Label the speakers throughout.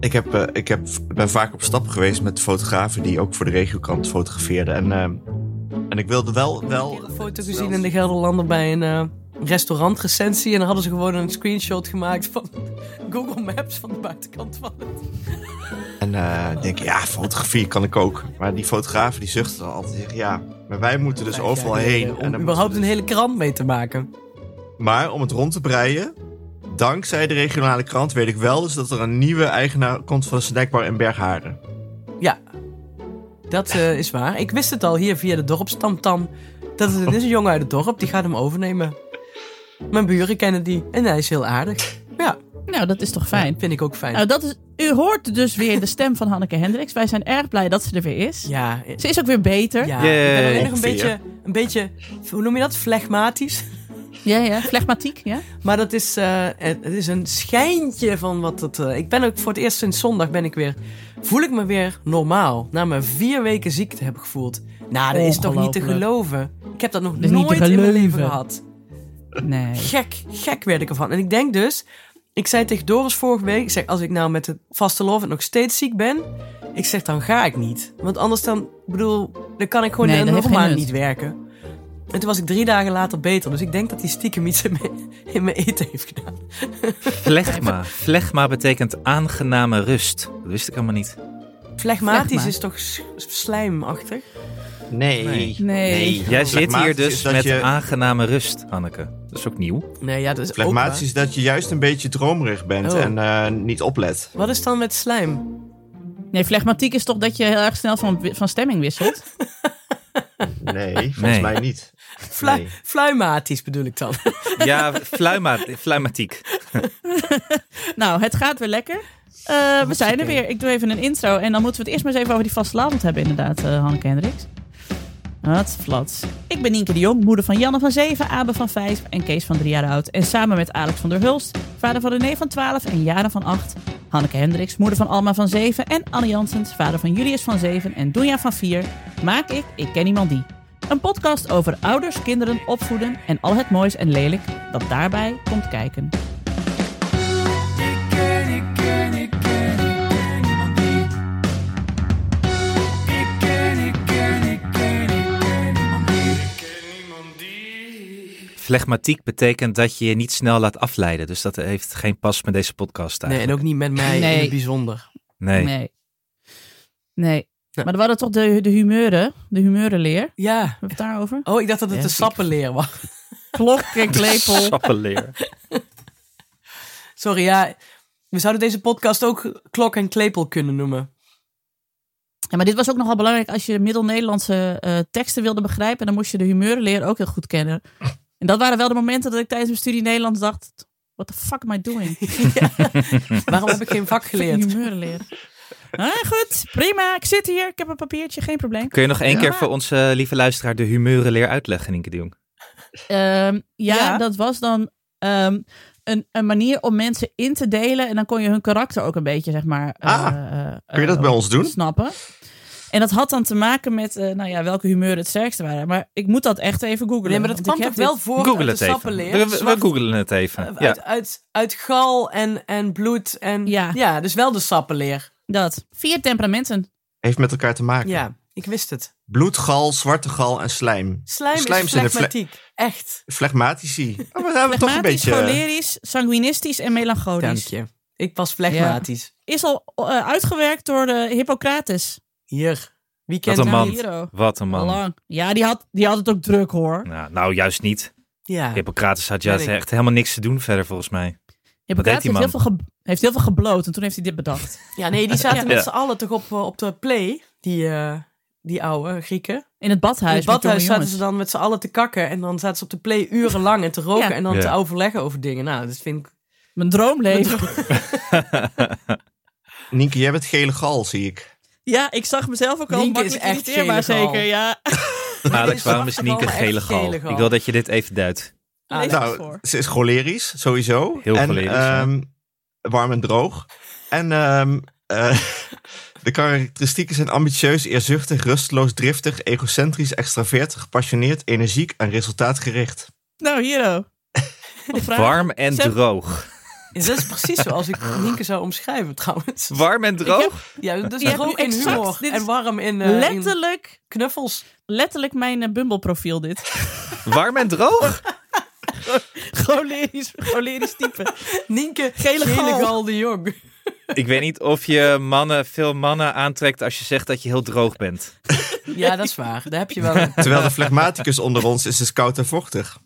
Speaker 1: Ik, heb, eh, ik heb, ben vaak op stap geweest met fotografen die ook voor de regiokrant fotografeerden. En, ehm, en ik wilde wel. wel
Speaker 2: een foto gezien in de Gelderlander bij een eh restaurantrecensie. En dan hadden ze gewoon een screenshot gemaakt van Google Maps van de buitenkant van
Speaker 1: Dus
Speaker 2: het.
Speaker 1: En eh, ik denk ja, fotografie kan ik ook. Maar die fotografen die zuchten dan altijd. Zeggen, ja, maar wij moeten dus overal
Speaker 2: Ja,
Speaker 1: heen.
Speaker 2: Om
Speaker 1: en dan
Speaker 2: überhaupt
Speaker 1: moeten
Speaker 2: een
Speaker 1: we
Speaker 2: hele krant mee te maken.
Speaker 1: dus- Maar om het rond te breien, dankzij de regionale krant, weet ik wel dus dat er een nieuwe eigenaar komt van de snackbar in Bergharen.
Speaker 2: Ja, dat eh, is waar. Ik wist het al hier via de dorpstamtam. Dat het is een jongen uit het dorp, die gaat hem overnemen. Mijn buren kennen die en hij is heel aardig. Ja,
Speaker 3: Nou, dat is toch fijn.
Speaker 2: vind ik ook fijn. Oh,
Speaker 3: Nou, dat is, u hoort dus weer de stem van Hanneke Hendricks. Wij zijn erg blij dat ze er weer is.
Speaker 2: ja, eh,
Speaker 3: Ze is ook weer beter. Ja,
Speaker 2: ja. ik ben alleen nog een
Speaker 1: Ongeveer.
Speaker 2: beetje, een beetje, hoe noem je dat, flegmatisch.
Speaker 3: ja. Flegmatiek, ja.
Speaker 2: Maar dat is, eh, het het is een schijntje van wat het. eh, ik ben ook voor het eerst sinds zondag ben ik weer. Voel ik me weer normaal. Na mijn vier weken ziekte heb ik gevoeld. Nou, dat is toch niet te
Speaker 3: Ongelooflijk.
Speaker 2: geloven. Ik heb dat nog
Speaker 3: Dat is niet te
Speaker 2: nooit in mijn leven
Speaker 3: geloven.
Speaker 2: gehad.
Speaker 3: Nee.
Speaker 2: Gek, gek werd ik ervan. En ik denk dus, ik zei tegen Doris vorige week, ik zeg, als ik nou met het vaste love nog steeds ziek ben, ik zeg, dan ga ik niet. Want anders dan, ik bedoel, dan kan ik gewoon
Speaker 3: Nee,
Speaker 2: een
Speaker 3: dat heeft
Speaker 2: hele
Speaker 3: geen
Speaker 2: maand
Speaker 3: nut.
Speaker 2: niet werken. En toen was ik drie dagen later beter. Dus ik denk dat hij stiekem iets in mijn, in mijn eten heeft gedaan.
Speaker 4: Flegma. Flegma betekent aangename rust. Dat wist ik allemaal niet.
Speaker 2: Flegmatisch
Speaker 3: Flegma.
Speaker 2: is toch s- slijmachtig?
Speaker 1: Nee.
Speaker 4: Nee.
Speaker 3: Nee.
Speaker 4: Jij zit
Speaker 1: Flegmatisch
Speaker 4: hier
Speaker 1: is
Speaker 4: dus
Speaker 1: dat
Speaker 4: met
Speaker 1: je-
Speaker 4: aangename rust, Hanneke. Dat is ook nieuw.
Speaker 2: Nee, ja, dat is ook
Speaker 1: Flegmatisch
Speaker 2: waar.
Speaker 1: is dat je juist een beetje dromerig bent
Speaker 2: Oh.
Speaker 1: en eh, niet oplet.
Speaker 2: Wat is dan met slijm?
Speaker 3: Nee, flegmatiek is toch dat je heel erg snel van, van stemming wisselt?
Speaker 1: Nee, volgens
Speaker 4: Nee.
Speaker 1: mij niet.
Speaker 2: Flu-
Speaker 1: Nee.
Speaker 2: Fluimatisch bedoel ik dan.
Speaker 4: Ja, fluima, fluimatiek.
Speaker 3: nou, het gaat weer lekker. Eh, we zijn er weer. Ik doe even een intro en dan moeten we het eerst maar eens even over die vastelavond hebben inderdaad, eh, Hanneke Hendricks. Wat flats. Ik ben Nienke de Jong, moeder van Janne van 7, Abe van 5 en Kees van 3 jaar oud. En samen met Alex van der Hulst, vader van René van 12 en Jaren van 8. Hanneke Hendricks, moeder van Alma van 7 en Anne Janssens, vader van Julius van 7 en Doenja van 4. Maak ik Ik Ken Iemand Die. Een podcast over ouders, kinderen, opvoeden en al het moois en lelijk dat daarbij komt kijken.
Speaker 4: Flegmatiek betekent dat je je niet snel laat afleiden. Dus dat heeft geen pas met deze podcast
Speaker 2: Nee, en
Speaker 4: eigenlijk.
Speaker 2: ook niet met mij in
Speaker 3: Nee.
Speaker 2: het bijzonder.
Speaker 4: Nee.
Speaker 3: Nee. Nee.
Speaker 2: Ja.
Speaker 3: Maar we hadden toch de, de humeuren, de humeurenleer. Hebben
Speaker 2: Ja.
Speaker 3: we het daarover?
Speaker 2: Oh, ik dacht dat het
Speaker 3: Ja,
Speaker 2: de
Speaker 3: ik-
Speaker 2: sappenleer was.
Speaker 3: Klok en klepel.
Speaker 4: Sappenleer.
Speaker 2: Sorry, ja. We zouden deze podcast ook klok en klepel kunnen noemen.
Speaker 3: Ja, maar dit was ook nogal belangrijk als je middel-Nederlandse eh, teksten wilde begrijpen. Dan moest je de humeurenleer ook heel goed kennen. En dat waren wel de momenten dat ik tijdens mijn studie Nederlands dacht... What the fuck am I doing?
Speaker 2: Waarom heb ik geen vak geleerd?
Speaker 3: Humeurenleer. Ah, goed, prima. Ik zit hier. Ik heb een papiertje, geen probleem.
Speaker 4: Kun je nog één
Speaker 3: Ja.
Speaker 4: keer voor onze eh, lieve luisteraar de humeurenleer uitleggen, Nienke de Jong?
Speaker 3: Ehm, ja,
Speaker 2: Ja.
Speaker 3: dat was dan ehm, een, een manier om mensen in te delen. En dan kon je hun karakter ook een beetje, zeg maar. eh,
Speaker 1: Ah,
Speaker 3: eh,
Speaker 1: Kun je dat
Speaker 3: eh,
Speaker 1: bij ons
Speaker 2: Hm?
Speaker 1: doen?
Speaker 3: Snappen. En dat had dan te maken met, eh, nou ja, welke humeuren het sterkste waren. Maar ik moet dat echt even googlen.
Speaker 2: Nee, maar dat
Speaker 3: want
Speaker 2: kwam
Speaker 3: ik
Speaker 2: toch
Speaker 3: heb
Speaker 2: wel
Speaker 3: dit-
Speaker 2: voor
Speaker 4: Google
Speaker 2: uit
Speaker 4: het
Speaker 2: de
Speaker 4: even.
Speaker 2: sappenleer?
Speaker 4: We, we- we
Speaker 2: Zwart- Eh,
Speaker 4: googlen het even. Ja.
Speaker 2: Uit, uit, uit gal en, en bloed en...
Speaker 3: Ja.
Speaker 2: ja, dus wel de sappenleer.
Speaker 3: Dat. Vier temperamenten.
Speaker 1: Heeft met elkaar te maken.
Speaker 2: Ja, ik wist het.
Speaker 1: Bloedgal, zwarte gal en slijm.
Speaker 2: Slijm,
Speaker 1: Slijm
Speaker 2: is
Speaker 1: zit in fle-
Speaker 2: flegmatiek. Echt.
Speaker 1: Flegmatici. Oh, maar daar hebben we toch een
Speaker 3: Flegmatisch,
Speaker 2: eh,
Speaker 1: beetje...
Speaker 3: cholerisch, sanguinistisch en
Speaker 2: Dank
Speaker 3: melancholisch.
Speaker 2: je. Ik was flegmatisch.
Speaker 3: Is al eh, uitgewerkt door de Hippocrates.
Speaker 2: Hier. Wie kent
Speaker 4: Wat een
Speaker 2: hem
Speaker 4: man.
Speaker 2: niet?
Speaker 3: Hero.
Speaker 4: Wat een man.
Speaker 3: Lang. Ja, die had, die had het ook druk hoor.
Speaker 4: Nou, nou, juist niet.
Speaker 2: Ja.
Speaker 4: Hippocrates had juist
Speaker 2: Ben ik.
Speaker 4: echt helemaal niks te doen verder, volgens mij.
Speaker 3: Hippocrates
Speaker 4: deed
Speaker 3: heeft
Speaker 4: die
Speaker 3: heel, veel ge- heeft heel veel gebloot en toen heeft hij dit bedacht.
Speaker 2: ja, nee, die zaten
Speaker 3: Ja.
Speaker 2: met
Speaker 4: Ja.
Speaker 2: z'n allen toch op, eh, op de play, die, eh, die oude Grieken.
Speaker 3: In het badhuis.
Speaker 2: In het badhuis zaten ze
Speaker 3: dan.
Speaker 2: dan met z'n allen te kakken. En dan zaten ze op de play urenlang en te roken.
Speaker 3: Ja.
Speaker 2: En dan
Speaker 4: Ja.
Speaker 2: te overleggen over dingen. Nou, dat vind ik...
Speaker 3: Mijn droomleven.
Speaker 1: Nienke, jij bent gele gal, zie ik.
Speaker 3: Ja, ik zag mezelf ook al
Speaker 2: Nienke
Speaker 3: makkelijk
Speaker 2: is echt
Speaker 3: irriteerbaar
Speaker 2: gele gal.
Speaker 3: zeker. Ja,
Speaker 4: Alex,
Speaker 2: is
Speaker 4: waarom Nou, is
Speaker 2: echt
Speaker 4: Nienke
Speaker 2: wel echt
Speaker 4: gele gal?
Speaker 2: gele gal.
Speaker 4: Ik wil dat je dit even duidt.
Speaker 2: Ah,
Speaker 3: Lees het
Speaker 1: nou,
Speaker 3: voor.
Speaker 1: ze is cholerisch, sowieso.
Speaker 4: Heel
Speaker 1: en,
Speaker 4: cholerisch, ja.
Speaker 1: ehm, Warm en droog. En ehm, eh, de karakteristieken zijn ambitieus, eerzuchtig, rusteloos, driftig, egocentrisch, extravert, gepassioneerd, energiek en resultaatgericht.
Speaker 3: Nou, Hero. Wat vraag.
Speaker 4: Warm en
Speaker 3: Ze-
Speaker 4: droog.
Speaker 2: Ja, dat is precies zoals ik Nienke zou omschrijven trouwens.
Speaker 4: Warm en droog?
Speaker 3: Ik
Speaker 2: Ja, dus
Speaker 3: Je hebt
Speaker 2: droog
Speaker 3: nu
Speaker 2: in
Speaker 3: exact-
Speaker 2: humor
Speaker 3: dit is
Speaker 2: en warm in, eh, in
Speaker 3: letterlijk,
Speaker 2: knuffels.
Speaker 3: letterlijk mijn eh, Bumble-profiel dit.
Speaker 4: Warm en droog?
Speaker 3: cholerisch, cholerisch type.
Speaker 2: Nienke,
Speaker 3: Gele
Speaker 2: gele,
Speaker 3: gal.
Speaker 2: gal de jong.
Speaker 4: Ik weet niet of je mannen, veel mannen aantrekt als je zegt dat je heel droog bent.
Speaker 2: Ja, dat is waar. Daar heb je wel een-
Speaker 1: Terwijl de flegmaticus onder ons is dus koud en vochtig.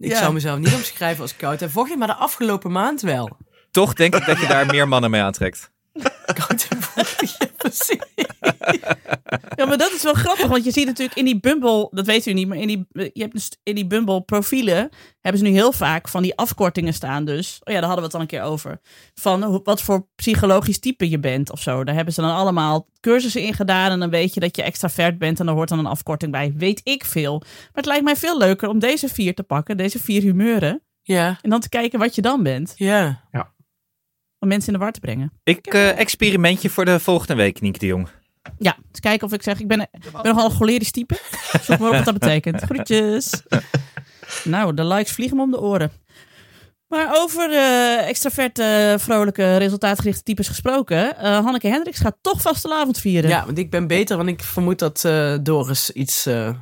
Speaker 2: Ik
Speaker 3: Ja.
Speaker 2: zou mezelf niet omschrijven als koud en vochtig, maar de afgelopen maand wel.
Speaker 4: Toch denk ik dat je daar meer mannen mee aantrekt.
Speaker 2: Koud en vochtig, ja, precies.
Speaker 3: Ja, maar dat is wel grappig, want je ziet natuurlijk in die Bumble, dat weet u niet, maar in die, je hebt dus in die Bumble profielen hebben ze nu heel vaak van die afkortingen staan. Dus, oh ja, daar hadden we het dan een keer over. Van hoe- wat voor psychologisch type je bent of zo. Daar hebben ze dan allemaal cursussen in gedaan en dan weet je dat je extravert bent en daar hoort dan een afkorting bij. Weet ik veel. Maar het lijkt mij veel leuker om deze vier te pakken, deze vier humeuren,
Speaker 2: Ja,
Speaker 3: en dan te kijken wat je dan bent.
Speaker 2: ja.
Speaker 3: Om mensen in de war te brengen.
Speaker 4: Ik eh, experimentje voor de volgende week, Nienke de Jong.
Speaker 3: Ja, eens kijken of ik zeg, ik ben, ik ben nogal een cholerisch type. Zoek maar op wat dat betekent. Groetjes. Nou, de likes vliegen me om de oren. Maar over eh extraverte, vrolijke, resultaatgerichte types gesproken. eh, Hanneke Hendricks gaat toch vastelavond vieren.
Speaker 2: ja, want ik ben beter, want ik vermoed dat eh, Doris iets eh,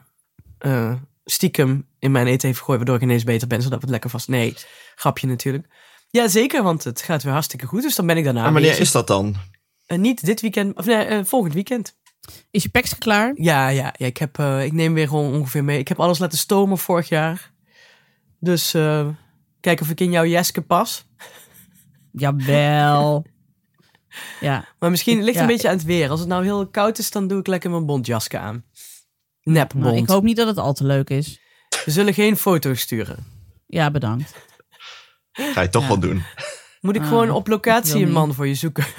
Speaker 2: eh, stiekem in mijn eten heeft gegooid, waardoor ik ineens beter ben, zodat we het lekker vast... Nee, grapje natuurlijk. Ja, zeker, want het gaat weer hartstikke goed, dus dan ben ik daarna
Speaker 1: En wanneer
Speaker 2: weer.
Speaker 1: is dat dan?
Speaker 2: Eh, niet dit weekend, of nee, eh, volgend weekend.
Speaker 3: Is je peks klaar?
Speaker 2: Ja, ja, ja ik, heb, eh, ik neem weer gewoon ongeveer mee. Ik heb alles laten stomen vorig jaar. Dus eh, kijk of ik in jouw Jeske pas.
Speaker 3: Jawel. ja,
Speaker 2: Maar misschien het ligt
Speaker 3: Ja,
Speaker 2: een beetje aan het weer. Als het nou heel koud is, dan doe ik lekker mijn bondjasken aan. Nep
Speaker 3: nou,
Speaker 2: bond.
Speaker 3: ik hoop niet dat het al te leuk is.
Speaker 2: We zullen geen foto's sturen.
Speaker 3: Ja, bedankt.
Speaker 1: Ga je toch
Speaker 3: Ja.
Speaker 1: wel doen.
Speaker 2: Moet ik
Speaker 3: Ah,
Speaker 2: gewoon op
Speaker 3: wil
Speaker 2: locatie een
Speaker 3: niet.
Speaker 2: man voor je zoeken?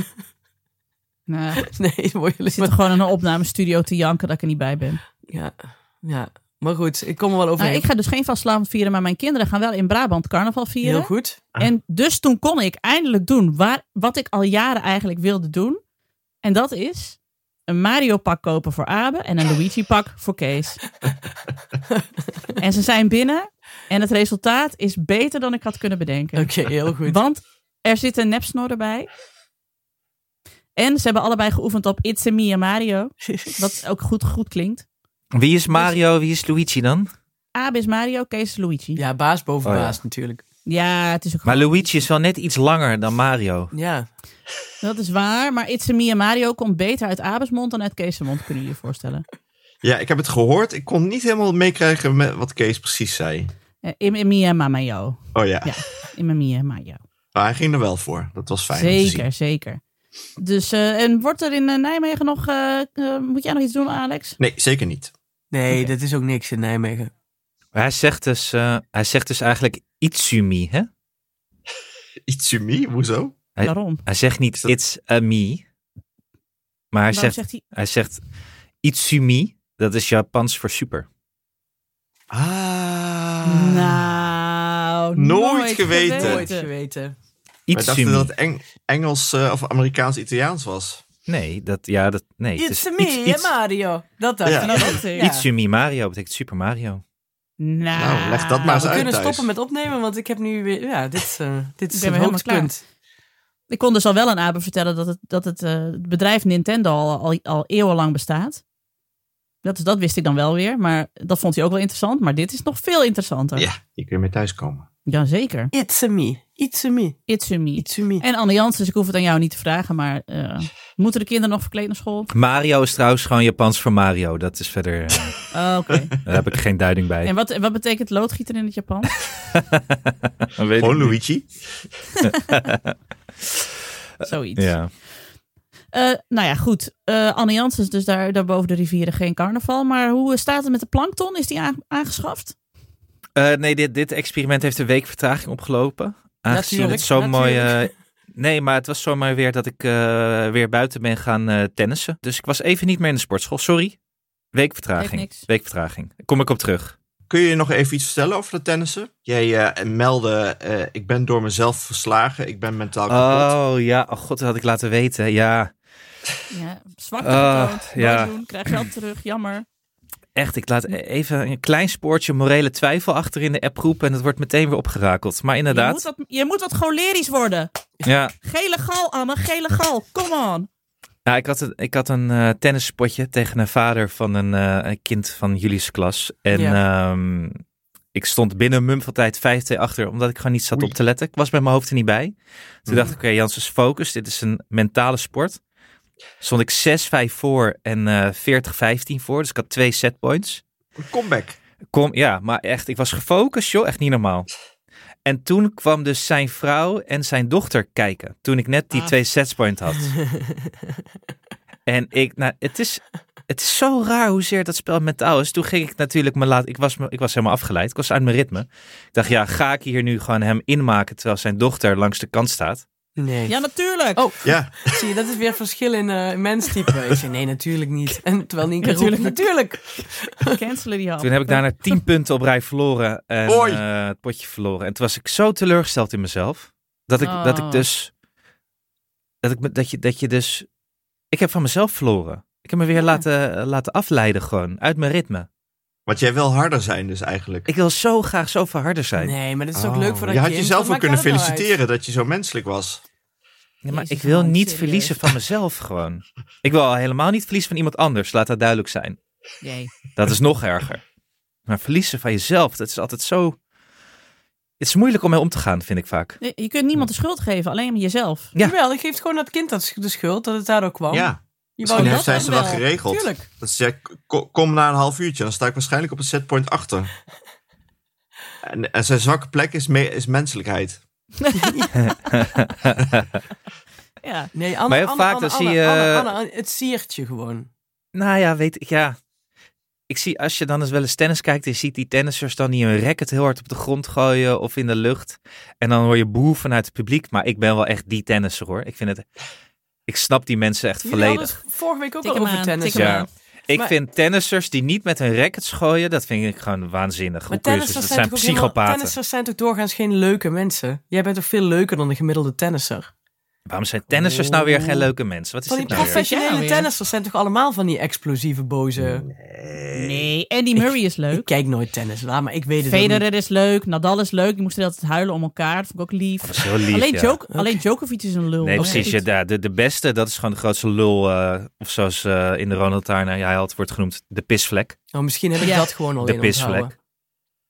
Speaker 3: Nou, ik
Speaker 2: Nee, dan word je alleen
Speaker 3: zit er
Speaker 2: maar...
Speaker 3: gewoon in een opnamestudio te janken dat ik er niet bij ben.
Speaker 2: Ja, ja, maar goed. Ik kom er wel
Speaker 3: Nou,
Speaker 2: overheen.
Speaker 3: ik ga dus geen vastelavond vieren, maar mijn kinderen gaan wel in Brabant carnaval vieren.
Speaker 2: Heel goed.
Speaker 3: En dus toen kon ik eindelijk doen waar, wat ik al jaren eigenlijk wilde doen. En dat is een Mario pak kopen voor Abe en een Luigi pak voor Kees. en ze zijn binnen en het resultaat is beter dan ik had kunnen bedenken.
Speaker 2: Oké, heel goed.
Speaker 3: Want er zit een nepsnor bij. En ze hebben allebei geoefend op It's a Me en Mario. Wat ook goed, goed klinkt.
Speaker 4: Wie
Speaker 2: Dus-
Speaker 4: is Mario, wie is Luigi dan?
Speaker 3: Abe is Mario, Kees is Luigi. Ja,
Speaker 2: Ja, baas boven
Speaker 4: Oh, ja.
Speaker 2: baas natuurlijk.
Speaker 3: het is ook
Speaker 4: Maar Luigi is wel net iets langer dan Mario.
Speaker 2: Ja,
Speaker 3: Dat is waar, maar It's a Me en Mario komt beter uit Abes mond dan uit Kees' mond, kunnen jullie je voorstellen.
Speaker 1: Ja, ik heb het gehoord. Ik kon niet helemaal meekrijgen met wat Kees precies zei.
Speaker 3: Eh, Im en Mia Mama Yo.
Speaker 1: Oh ja,
Speaker 3: Ja. Im en Mia Mama Yo.
Speaker 1: maar hij ging er wel voor. Dat was fijn om te zien.
Speaker 3: Zeker, zeker. Dus, eh, en wordt er in eh, Nijmegen nog, eh, eh, moet jij nog iets doen Alex?
Speaker 1: Nee, zeker niet.
Speaker 2: nee,
Speaker 3: Oké.
Speaker 2: dat is ook niks in Nijmegen.
Speaker 4: Maar hij zegt dus, eh, hij zegt dus eigenlijk Itsumi, hè?
Speaker 1: Itsumi, hoezo?
Speaker 4: Hij-
Speaker 3: Waarom?
Speaker 4: Hij zegt niet
Speaker 1: Is dat-
Speaker 4: It's a me, maar
Speaker 3: Waarom
Speaker 4: hij zegt,
Speaker 3: zegt hij,
Speaker 4: hij zegt Itsumi. Dat is Japans voor super.
Speaker 1: Ah.
Speaker 3: nou,
Speaker 1: Nooit geweten.
Speaker 2: Nooit geweten.
Speaker 1: Wij dachten
Speaker 4: Itsumi.
Speaker 1: dat het Eng- Engels eh, of Amerikaans-Italiaans was.
Speaker 4: Nee, dat, ja, dat, nee. het
Speaker 2: It's
Speaker 4: is
Speaker 2: me,
Speaker 4: iets-
Speaker 2: hè,
Speaker 4: iets-
Speaker 2: Mario. Dat dacht
Speaker 1: Ja.
Speaker 2: ik.
Speaker 3: Nou, dat is-
Speaker 2: Ja.
Speaker 4: Itsumi Mario betekent Super Mario.
Speaker 3: Nou,
Speaker 1: Nou, leg dat maar eens
Speaker 2: We
Speaker 1: uit.
Speaker 2: kunnen
Speaker 1: thuis.
Speaker 2: stoppen met opnemen, want ik heb nu weer... Ja, dit, eh, dit
Speaker 3: Ik
Speaker 2: is een
Speaker 3: ben weer helemaal
Speaker 2: hoogtepunt.
Speaker 3: Ik kon dus al wel aan Abe vertellen dat het, dat het, eh, het bedrijf Nintendo al, al, al eeuwenlang bestaat. Dat, is- dat wist ik dan wel weer, maar dat vond hij ook wel interessant. Maar dit is nog veel interessanter.
Speaker 1: Ja, je kunt mee thuiskomen.
Speaker 3: Jazeker.
Speaker 2: It's a me. It's a me.
Speaker 3: It's a me.
Speaker 2: It's a me.
Speaker 3: En Anne Jans, dus ik hoef het aan jou niet te vragen, maar eh, moeten de kinderen nog verkleed naar school?
Speaker 4: Mario is trouwens gewoon Japans voor Mario. Dat is verder, eh,
Speaker 3: Oh, Oké.
Speaker 4: daar heb ik geen duiding bij.
Speaker 3: En wat, wat betekent loodgieter in het Japan?
Speaker 4: Weet
Speaker 1: Gewoon
Speaker 4: ik
Speaker 1: Luigi.
Speaker 4: niet.
Speaker 3: Zoiets.
Speaker 4: Ja.
Speaker 3: Eh, nou ja, goed. Eh Anne Jans is dus daar, daar boven de rivieren geen carnaval. Maar hoe eh, staat het met de plankton? Is die aan- aangeschaft?
Speaker 4: Eh, nee, dit, dit experiment heeft een week vertraging opgelopen. Aangezien
Speaker 2: Natuurlijk,
Speaker 4: het zo mooi...
Speaker 2: natuurlijk.
Speaker 4: eh, nee, maar het was zo mooi weer dat ik eh, weer buiten ben gaan eh, tennissen. Dus ik was even niet meer in de sportschool. Sorry. Week
Speaker 3: Geeft
Speaker 4: vertraging.
Speaker 3: niks.
Speaker 4: Week vertraging. Kom ik op terug.
Speaker 1: Kun je nog even iets vertellen over de tennissen? Jij eh, meldde, eh, ik ben door mezelf verslagen. Ik ben mentaal kapot.
Speaker 4: Oh ja, oh god, dat had ik laten weten. Ja,
Speaker 3: Ja, zwak
Speaker 4: Ah,
Speaker 3: getoond. Nooit
Speaker 4: ja.
Speaker 3: doen. Krijg geld terug. Jammer.
Speaker 4: echt, ik laat e- even een klein spoortje morele twijfel achter in de appgroep en het wordt meteen weer opgerakeld. Maar
Speaker 3: Je
Speaker 4: inderdaad,
Speaker 3: moet, wat, je moet wat cholerisch worden.
Speaker 4: ja.
Speaker 3: Gele gal, Anne, gele gal. Come on.
Speaker 4: Ja, ik had een, ik had een eh, tennisspotje tegen een vader van een, eh, een kind van Julius' klas. En ehm, ik stond binnen een mum van tijd 5-2 achter, omdat ik gewoon niet zat
Speaker 1: Oei.
Speaker 4: op te letten. Ik was bij mijn hoofd er niet bij. Toen
Speaker 1: Mhm.
Speaker 4: dacht ik, oké, Janssens, focus. Dit is een mentale sport. Stond ik 6-5 voor en eh 40-15 voor. Dus ik had twee setpoints.
Speaker 1: Een comeback.
Speaker 4: Kom, ja, maar echt, ik was gefocust, joh. Echt niet normaal. En toen kwam dus zijn vrouw en zijn dochter kijken. Toen ik net die
Speaker 3: Ah.
Speaker 4: twee setpoints had. En ik, nou, het is, het is zo raar hoezeer dat spel mentaal is. Toen ging ik natuurlijk me laat, ik was, me- ik was helemaal afgeleid. Ik was uit mijn ritme. Ik dacht, ja, ga ik hier nu gewoon hem inmaken terwijl zijn dochter langs de kant staat?
Speaker 2: Nee.
Speaker 3: Ja, natuurlijk.
Speaker 2: Oh.
Speaker 1: Ja,
Speaker 2: Zie je, dat is weer verschil in eh menstype. Ik zei, nee, natuurlijk niet. En terwijl Nienke roept,
Speaker 3: Natuurlijk
Speaker 2: natuurlijk,
Speaker 3: niet.
Speaker 2: natuurlijk.
Speaker 3: Cancelen die hand.
Speaker 4: Toen heb ik daarna tien punten op rij verloren en
Speaker 1: Oei.
Speaker 4: eh, het potje verloren. En toen was ik zo teleurgesteld in mezelf dat ik, dat
Speaker 3: Oh.
Speaker 4: ik dus, dat ik, me- dat je, dat je dus, ik heb van mezelf verloren. Ik heb me weer laten, laten afleiden gewoon, uit mijn ritme.
Speaker 1: want jij wil harder zijn dus eigenlijk.
Speaker 4: Ik wil zo graag zoveel harder zijn.
Speaker 2: Nee, maar dat is ook
Speaker 1: Oh,
Speaker 2: leuk voor dat
Speaker 1: Je had
Speaker 2: kind,
Speaker 1: jezelf
Speaker 2: dan
Speaker 1: wel
Speaker 2: maakt
Speaker 1: kunnen
Speaker 2: dat nou uit.
Speaker 1: feliciteren dat je zo menselijk was.
Speaker 4: Ja, maar
Speaker 2: Jezus,
Speaker 4: ik wil
Speaker 2: man,
Speaker 4: niet
Speaker 2: serieus.
Speaker 4: verliezen van mezelf gewoon. Ik wil al helemaal niet verliezen van iemand anders, laat dat duidelijk zijn.
Speaker 3: Jee.
Speaker 4: Dat is nog erger. Maar verliezen van jezelf, dat is altijd zo... Het is moeilijk om mee om te gaan, vind ik vaak.
Speaker 3: Nee, Je kunt niemand de schuld geven, alleen maar jezelf.
Speaker 4: Ja.
Speaker 2: Jawel, ik geef gewoon dat kind dat de schuld dat het daardoor kwam.
Speaker 1: Ja,
Speaker 2: je wou
Speaker 4: Oh,
Speaker 1: misschien
Speaker 3: dat
Speaker 1: heeft zij
Speaker 3: dan
Speaker 1: ze wel
Speaker 3: wel.
Speaker 1: geregeld.
Speaker 2: Tuurlijk.
Speaker 1: Dat ze zei, "Ko- kom na een half uurtje, dan sta ik waarschijnlijk op een setpoint achter. En, en zijn zwakke plek is, me- is menselijkheid.
Speaker 3: Ja.
Speaker 2: Nee, Anne,
Speaker 4: Maar heel
Speaker 2: Anne,
Speaker 4: vaak
Speaker 2: Anne,
Speaker 4: dan zie
Speaker 2: Anne,
Speaker 4: je-
Speaker 2: Anne, Anne, Anne, het siertje gewoon.
Speaker 4: Nou ja, weet ik, ja. Ik zie, als je dan eens wel eens tennis kijkt, je ziet die tennissers dan die hun racket heel hard op de grond gooien of in de lucht. En dan hoor je boe vanuit het publiek. Maar ik ben wel echt die tennisser hoor. Ik vind het, ik snap die mensen echt
Speaker 2: Jullie hadden
Speaker 4: volledig.
Speaker 2: het vorige week ook
Speaker 3: Tik
Speaker 2: al
Speaker 3: hem
Speaker 2: over
Speaker 3: aan,
Speaker 2: tennis.
Speaker 3: tik hem
Speaker 4: Ja.
Speaker 3: aan.
Speaker 4: Ik
Speaker 2: Maar-
Speaker 4: vind tennissers die niet met hun rackets gooien, dat vind ik gewoon waanzinnig.
Speaker 2: Maar
Speaker 4: Hoe kun je ze-
Speaker 2: tennissers
Speaker 4: dat
Speaker 2: zijn,
Speaker 4: zijn
Speaker 2: toch ook helemaal-
Speaker 4: psychopaten.
Speaker 2: tennissers zijn toch doorgaans geen leuke mensen? Jij bent toch veel leuker dan de gemiddelde tennisser?
Speaker 4: Waarom zijn tennissers nou weer geen leuke mensen? Wat is
Speaker 2: Van die
Speaker 4: dit nou weer?
Speaker 3: Ja,
Speaker 2: professionele
Speaker 3: weer.
Speaker 2: tennissers zijn toch allemaal van die explosieve boze...
Speaker 3: Nee, Andy Murray is
Speaker 2: Ik
Speaker 3: leuk.
Speaker 2: kijk nooit tennis, laat maar ik weet het ook niet.
Speaker 3: Federer is leuk. Nadal is leuk. Die moesten altijd huilen om elkaar. Dat vond ik ook lief.
Speaker 4: Dat is heel lief,
Speaker 3: alleen,
Speaker 4: ja.
Speaker 3: Djok- alleen Djokovic is een lul.
Speaker 4: Nee,
Speaker 3: Dat
Speaker 4: precies.
Speaker 3: is
Speaker 4: Ja,
Speaker 3: goed.
Speaker 4: daar- de, de beste, dat is gewoon de grootste lul. eh, of zoals eh, in de Ronald Tarna, ja, hij altijd wordt genoemd, de pisvlek.
Speaker 2: Nou, misschien heb ik
Speaker 3: Ja.
Speaker 2: dat gewoon al
Speaker 4: De
Speaker 2: in onthouden.
Speaker 4: pisvlek.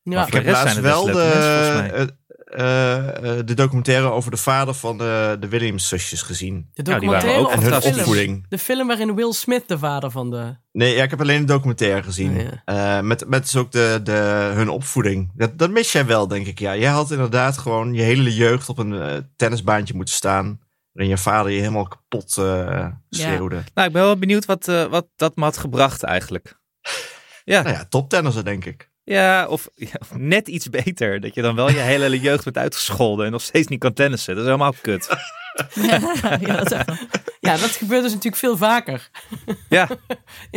Speaker 2: Ja.
Speaker 4: Maar
Speaker 1: Ik heb
Speaker 4: de rest
Speaker 1: laatst
Speaker 4: zijn er best
Speaker 1: wel de,
Speaker 4: leuke mensen, volgens mij.
Speaker 1: eh, eh, eh, de documentaire over de vader van de, de Williams-zusjes gezien.
Speaker 2: De
Speaker 4: Ja, die waren
Speaker 2: documentaire
Speaker 4: ook
Speaker 2: of
Speaker 1: En
Speaker 2: de
Speaker 1: hun
Speaker 4: Oh, fantastisch.
Speaker 2: film?
Speaker 1: opvoeding.
Speaker 2: De film waarin Will Smith de vader van de...
Speaker 1: Nee, ja, ik heb alleen een documentaire gezien.
Speaker 2: Oh, ja.
Speaker 1: Eh, met, met dus ook de, de, hun opvoeding. Dat, dat mis jij wel, denk ik. Ja. Jij had inderdaad gewoon je hele jeugd op een eh, tennisbaantje moeten staan. Waarin je vader je helemaal kapot eh, schreeuwde.
Speaker 4: Nou, ik ben wel benieuwd wat, eh, wat dat me had gebracht eigenlijk. Ja,
Speaker 1: Nou ja, toptennissen, denk ik.
Speaker 4: ja, of, ja, of net iets beter. Dat je dan wel je hele jeugd wordt uitgescholden en nog steeds niet kan tennissen. Dat is helemaal kut.
Speaker 3: ja, dat is echt wel-
Speaker 2: Ja, dat gebeurt dus natuurlijk veel vaker
Speaker 4: Ja,
Speaker 2: in,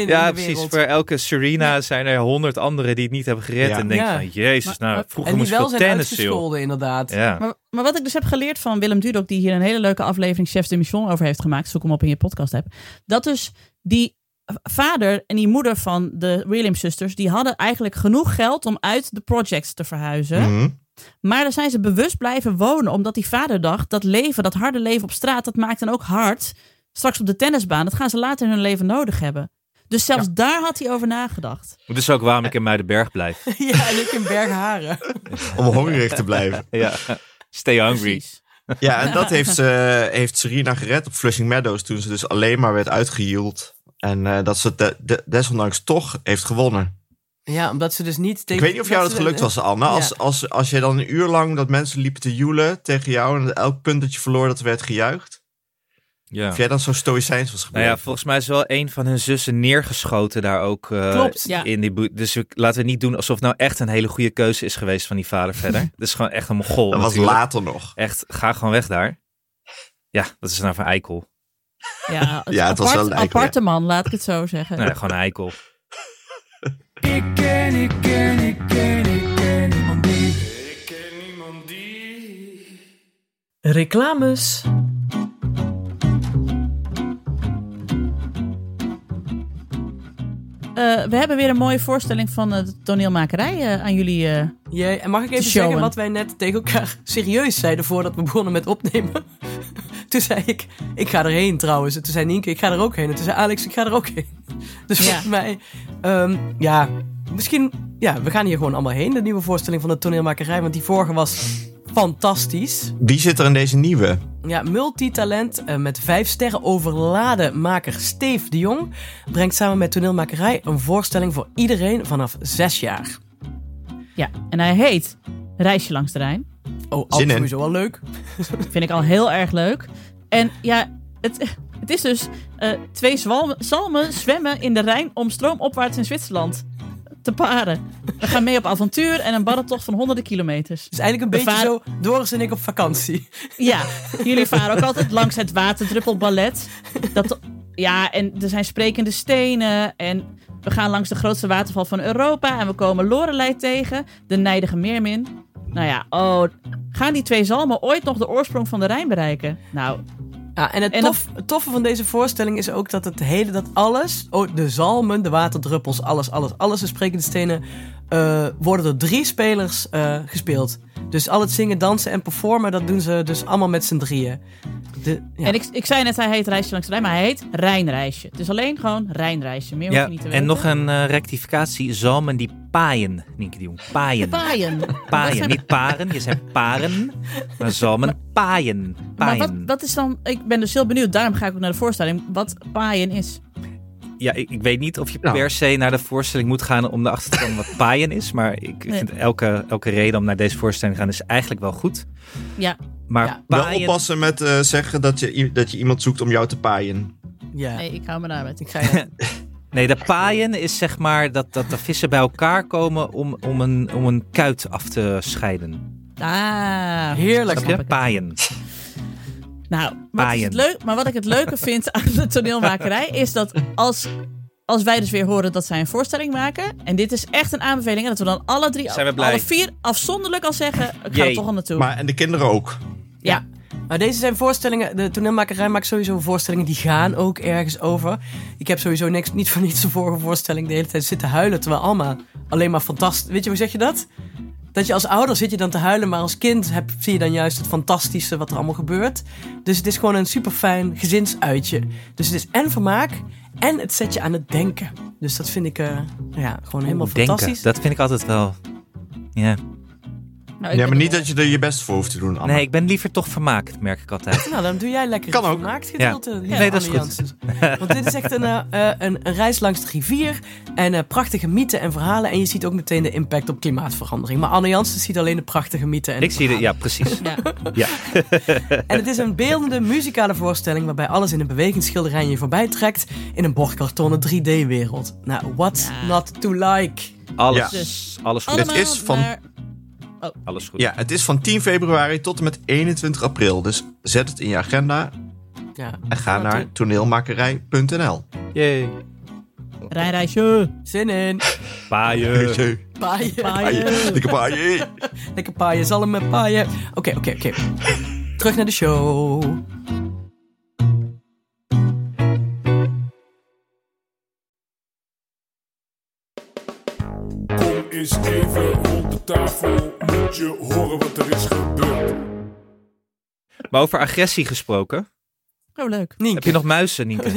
Speaker 2: in
Speaker 4: ja
Speaker 2: de
Speaker 4: precies.
Speaker 2: wereld.
Speaker 4: Voor elke Serena zijn er honderd anderen die het niet hebben gered.
Speaker 1: Ja.
Speaker 4: En denk
Speaker 2: Ja.
Speaker 4: van, jezus,
Speaker 3: Maar-
Speaker 4: nou,
Speaker 3: maar-
Speaker 4: vroeger
Speaker 2: En die
Speaker 4: moest ik
Speaker 2: wel
Speaker 4: wel
Speaker 2: zijn
Speaker 4: tennissen, joh.
Speaker 2: uitgescholden, inderdaad.
Speaker 4: Ja.
Speaker 3: Maar, maar wat ik dus heb geleerd van Willem Dudok, die hier een hele leuke aflevering Chefs de Mission over heeft gemaakt, zoek hem op in je podcast app. Dat dus die vader en die moeder van de Williams zusters, die hadden eigenlijk genoeg geld om uit de projects te verhuizen.
Speaker 1: Mhm.
Speaker 3: Maar daar zijn ze bewust blijven wonen, omdat die vader dacht, dat leven, dat harde leven op straat, dat maakt dan ook hard. Straks op de tennisbaan, dat gaan ze later in hun leven nodig hebben. Dus zelfs daar had hij over nagedacht.
Speaker 4: Dat is ook waarom ik in Muidenberg blijf.
Speaker 2: Ja, en ik in Bergharen.
Speaker 1: Om hongerig te blijven.
Speaker 4: Ja. Stay hungry.
Speaker 3: Precies.
Speaker 1: Ja, en dat heeft, ze, heeft Serena gered op Flushing Meadows. Toen ze dus alleen maar werd uitgehield. En eh, dat ze de, de- desondanks toch heeft gewonnen.
Speaker 2: Ja, omdat ze dus niet tegen...
Speaker 1: Ik weet niet of jou dat
Speaker 2: ze-
Speaker 1: gelukt was, Anne.
Speaker 2: Ja.
Speaker 1: Als, als, als je dan een uur lang dat mensen liepen te joelen tegen jou... en elk punt dat je verloor, dat werd gejuicht.
Speaker 4: Ja.
Speaker 1: Of jij dan zo stoïcijns was
Speaker 4: Nou
Speaker 1: gebleven.
Speaker 4: ja, volgens mij is wel een van hun zussen neergeschoten daar ook. eh,
Speaker 2: Klopt.
Speaker 3: Ja.
Speaker 4: In die boe- dus we- laten we niet doen alsof het nou echt een hele goede keuze is geweest van die vader verder. Dat is gewoon echt een mogol.
Speaker 1: dat was
Speaker 4: natuurlijk.
Speaker 1: later nog.
Speaker 4: Echt, ga gewoon weg daar. Ja, dat is nou van eikel.
Speaker 3: Ja,
Speaker 1: Ja, het was
Speaker 3: apart-
Speaker 1: wel een eikel,
Speaker 3: aparte man, laat ik het zo zeggen.
Speaker 4: Nou ja, gewoon een eikel.
Speaker 5: Ik ken, ik ken, ik ken, ik ken niemand die.
Speaker 2: Reclames.
Speaker 3: Eh, eh, we hebben weer een mooie voorstelling van eh, de toneelmakerij eh, aan jullie. eh.
Speaker 2: Jij- en mag ik even
Speaker 3: showen.
Speaker 2: zeggen wat wij net tegen elkaar serieus zeiden voordat we begonnen met opnemen? Toen zei ik, ik ga erheen trouwens. En toen zei Nienke, ik ga er ook heen. En toen zei Alex, ik ga er ook heen. Dus
Speaker 3: Ja.
Speaker 2: volgens mij, ehm, ja, misschien, ja, we gaan hier gewoon allemaal heen. De nieuwe voorstelling van de toneelmakerij, want die vorige was fantastisch.
Speaker 1: Wie zit er in deze nieuwe?
Speaker 2: Ja, multitalent eh, met vijf sterren overladen maker Steve de Jong brengt samen met toneelmakerij een voorstelling voor iedereen vanaf zes jaar.
Speaker 3: ja, en hij heet Reisje langs de Rijn.
Speaker 2: Oh, alles
Speaker 1: in.
Speaker 2: sowieso wel leuk.
Speaker 3: Vind ik al heel erg leuk. En ja, het, het is dus eh, twee zwalmen- zalmen zwemmen in de Rijn om stroomopwaarts in Zwitserland te paren. We gaan mee op avontuur en een barrentocht van honderden kilometers.
Speaker 2: Het is Dus eigenlijk een
Speaker 3: We
Speaker 2: beetje zo Doris en ik op vakantie.
Speaker 3: Ja, jullie varen ook altijd langs het waterdruppelballet. Dat, ja, en er zijn sprekende stenen. En we gaan langs de grootste waterval van Europa. En we komen Lorelei tegen, de nijdige meermin. Nou ja, oh, gaan die twee zalmen ooit nog de oorsprong van de Rijn bereiken? Nou,
Speaker 2: Ja, en het,
Speaker 3: En
Speaker 2: tof- het toffe van deze voorstelling is ook dat het hele, dat alles, oh, de zalmen, de waterdruppels, alles, alles, alles, de sprekende stenen, eh, worden door drie spelers eh, gespeeld. Dus al het zingen, dansen en performen, dat doen ze dus allemaal met z'n drieën. De, ja.
Speaker 3: en ik, ik zei net, hij heet Reisje langs de Rijn, maar hij heet Rijnreisje. Dus alleen gewoon Rijnreisje, meer hoef
Speaker 4: Ja,
Speaker 3: je niet te weten.
Speaker 4: en nog een eh, rectificatie. Zalmen die paaien, Nienke de Jong. Paaien.
Speaker 3: Paaien. Wat
Speaker 4: Paaien,
Speaker 3: zijn-
Speaker 4: niet paren. Je zei paren, maar zalmen paaien.
Speaker 3: Maar wat,
Speaker 4: Paaien.
Speaker 3: wat is dan... Ik ben dus heel benieuwd, daarom ga ik ook naar de voorstelling, wat paaien is.
Speaker 4: Ja, ik, ik weet niet of je
Speaker 1: Nou.
Speaker 4: per se naar de voorstelling moet gaan om erachter te komen wat paaien is. Maar ik
Speaker 3: Nee.
Speaker 4: vind elke, elke reden om naar deze voorstelling te gaan is eigenlijk wel goed.
Speaker 3: Ja,
Speaker 4: Maar
Speaker 2: Ja.
Speaker 1: Wel
Speaker 4: paaien...
Speaker 1: oppassen met eh, zeggen dat je, i- dat je iemand zoekt om jou te paaien.
Speaker 2: ja.
Speaker 3: nee, ik hou me daarmee.
Speaker 2: Ik ga ja.
Speaker 4: Nee, de paaien is zeg maar dat, dat de vissen bij elkaar komen om, om, een, om een kuit af te scheiden.
Speaker 3: Ah,
Speaker 2: Heerlijk.
Speaker 4: Snap je?
Speaker 3: ik.
Speaker 4: Paaien.
Speaker 3: Nou, wat is
Speaker 4: Paaien.
Speaker 3: het leuk, maar wat ik het leuke vind aan de toneelmakerij is dat als, als wij dus weer horen dat zij een voorstelling maken. En dit is echt een aanbeveling. En dat we dan alle drie,
Speaker 4: Zijn we blij.
Speaker 3: alle vier afzonderlijk al zeggen. Ik ga
Speaker 4: Jee.
Speaker 3: er toch al naartoe.
Speaker 1: Maar, en de kinderen ook.
Speaker 3: ja.
Speaker 2: Maar Nou, deze zijn voorstellingen. De toneelmakerij maakt sowieso voorstellingen die gaan ook ergens over. Ik heb sowieso niks, niet van niets de vorige voorstelling de hele tijd zitten huilen. Terwijl allemaal alleen maar fantastisch. Weet je, hoe zeg je dat? Dat je als ouder zit je dan te huilen, maar als kind heb, zie je dan juist het fantastische wat er allemaal gebeurt. Dus het is gewoon een super fijn gezinsuitje. Dus het is en vermaak en het zet je aan het denken. Dus dat vind ik eh, ja, gewoon helemaal fantastisch.
Speaker 4: Denken. Dat vind ik altijd wel... Ja.
Speaker 3: Nou, ik
Speaker 1: Ja,
Speaker 3: ben
Speaker 1: maar niet
Speaker 3: er-
Speaker 1: dat je er je best voor hoeft te doen, Anne.
Speaker 4: Nee, ik ben liever toch vermaakt, merk ik altijd.
Speaker 2: Nou, dan doe jij lekker
Speaker 1: Kan
Speaker 2: het
Speaker 1: ook.
Speaker 2: vermaakgedeelte,
Speaker 4: Ja.
Speaker 2: lieve
Speaker 4: Nee, dat is
Speaker 2: Anne
Speaker 4: goed.
Speaker 2: Janssens. Want dit is echt een, eh, eh, een, een reis langs de rivier. En eh, prachtige mythen en verhalen. En je ziet ook meteen de impact op klimaatverandering. Maar Anne Janssen ziet alleen de prachtige mythen. En,
Speaker 4: Ik zie de, ja, precies.
Speaker 3: Ja.
Speaker 4: Ja.
Speaker 2: en het is een beeldende muzikale voorstelling... waarbij alles in een bewegingsschilderij je voorbij trekt... in een bordkartonnen 3D-wereld. Nou, what's
Speaker 3: Ja.
Speaker 2: not to like?
Speaker 4: Alles,
Speaker 3: Dus
Speaker 4: alles goed.
Speaker 3: Allemaal
Speaker 1: is van-
Speaker 3: naar-
Speaker 4: Alles goed.
Speaker 1: Ja, het is van 10 februari tot en met 21 april. Dus zet het in je agenda
Speaker 2: Ja,
Speaker 1: en ga naar
Speaker 2: Ja, natuurlijk.
Speaker 1: toneelmakerij.nl.
Speaker 4: Yay.
Speaker 3: Rijnreisje.
Speaker 2: zin in.
Speaker 4: Paaien.
Speaker 1: Hey,
Speaker 2: Paaien.
Speaker 1: hey, Dikke paaien.
Speaker 2: Lekker paaien, zalm en paaien. Oké, oké, oké. Terug naar de show.
Speaker 6: Kom eens even rond de tafel, moet je horen wat er is gebeurd.
Speaker 4: Maar over agressie gesproken.
Speaker 3: Oh, leuk.
Speaker 4: Heb
Speaker 2: Nienke.
Speaker 4: je nog muizen, Nienke?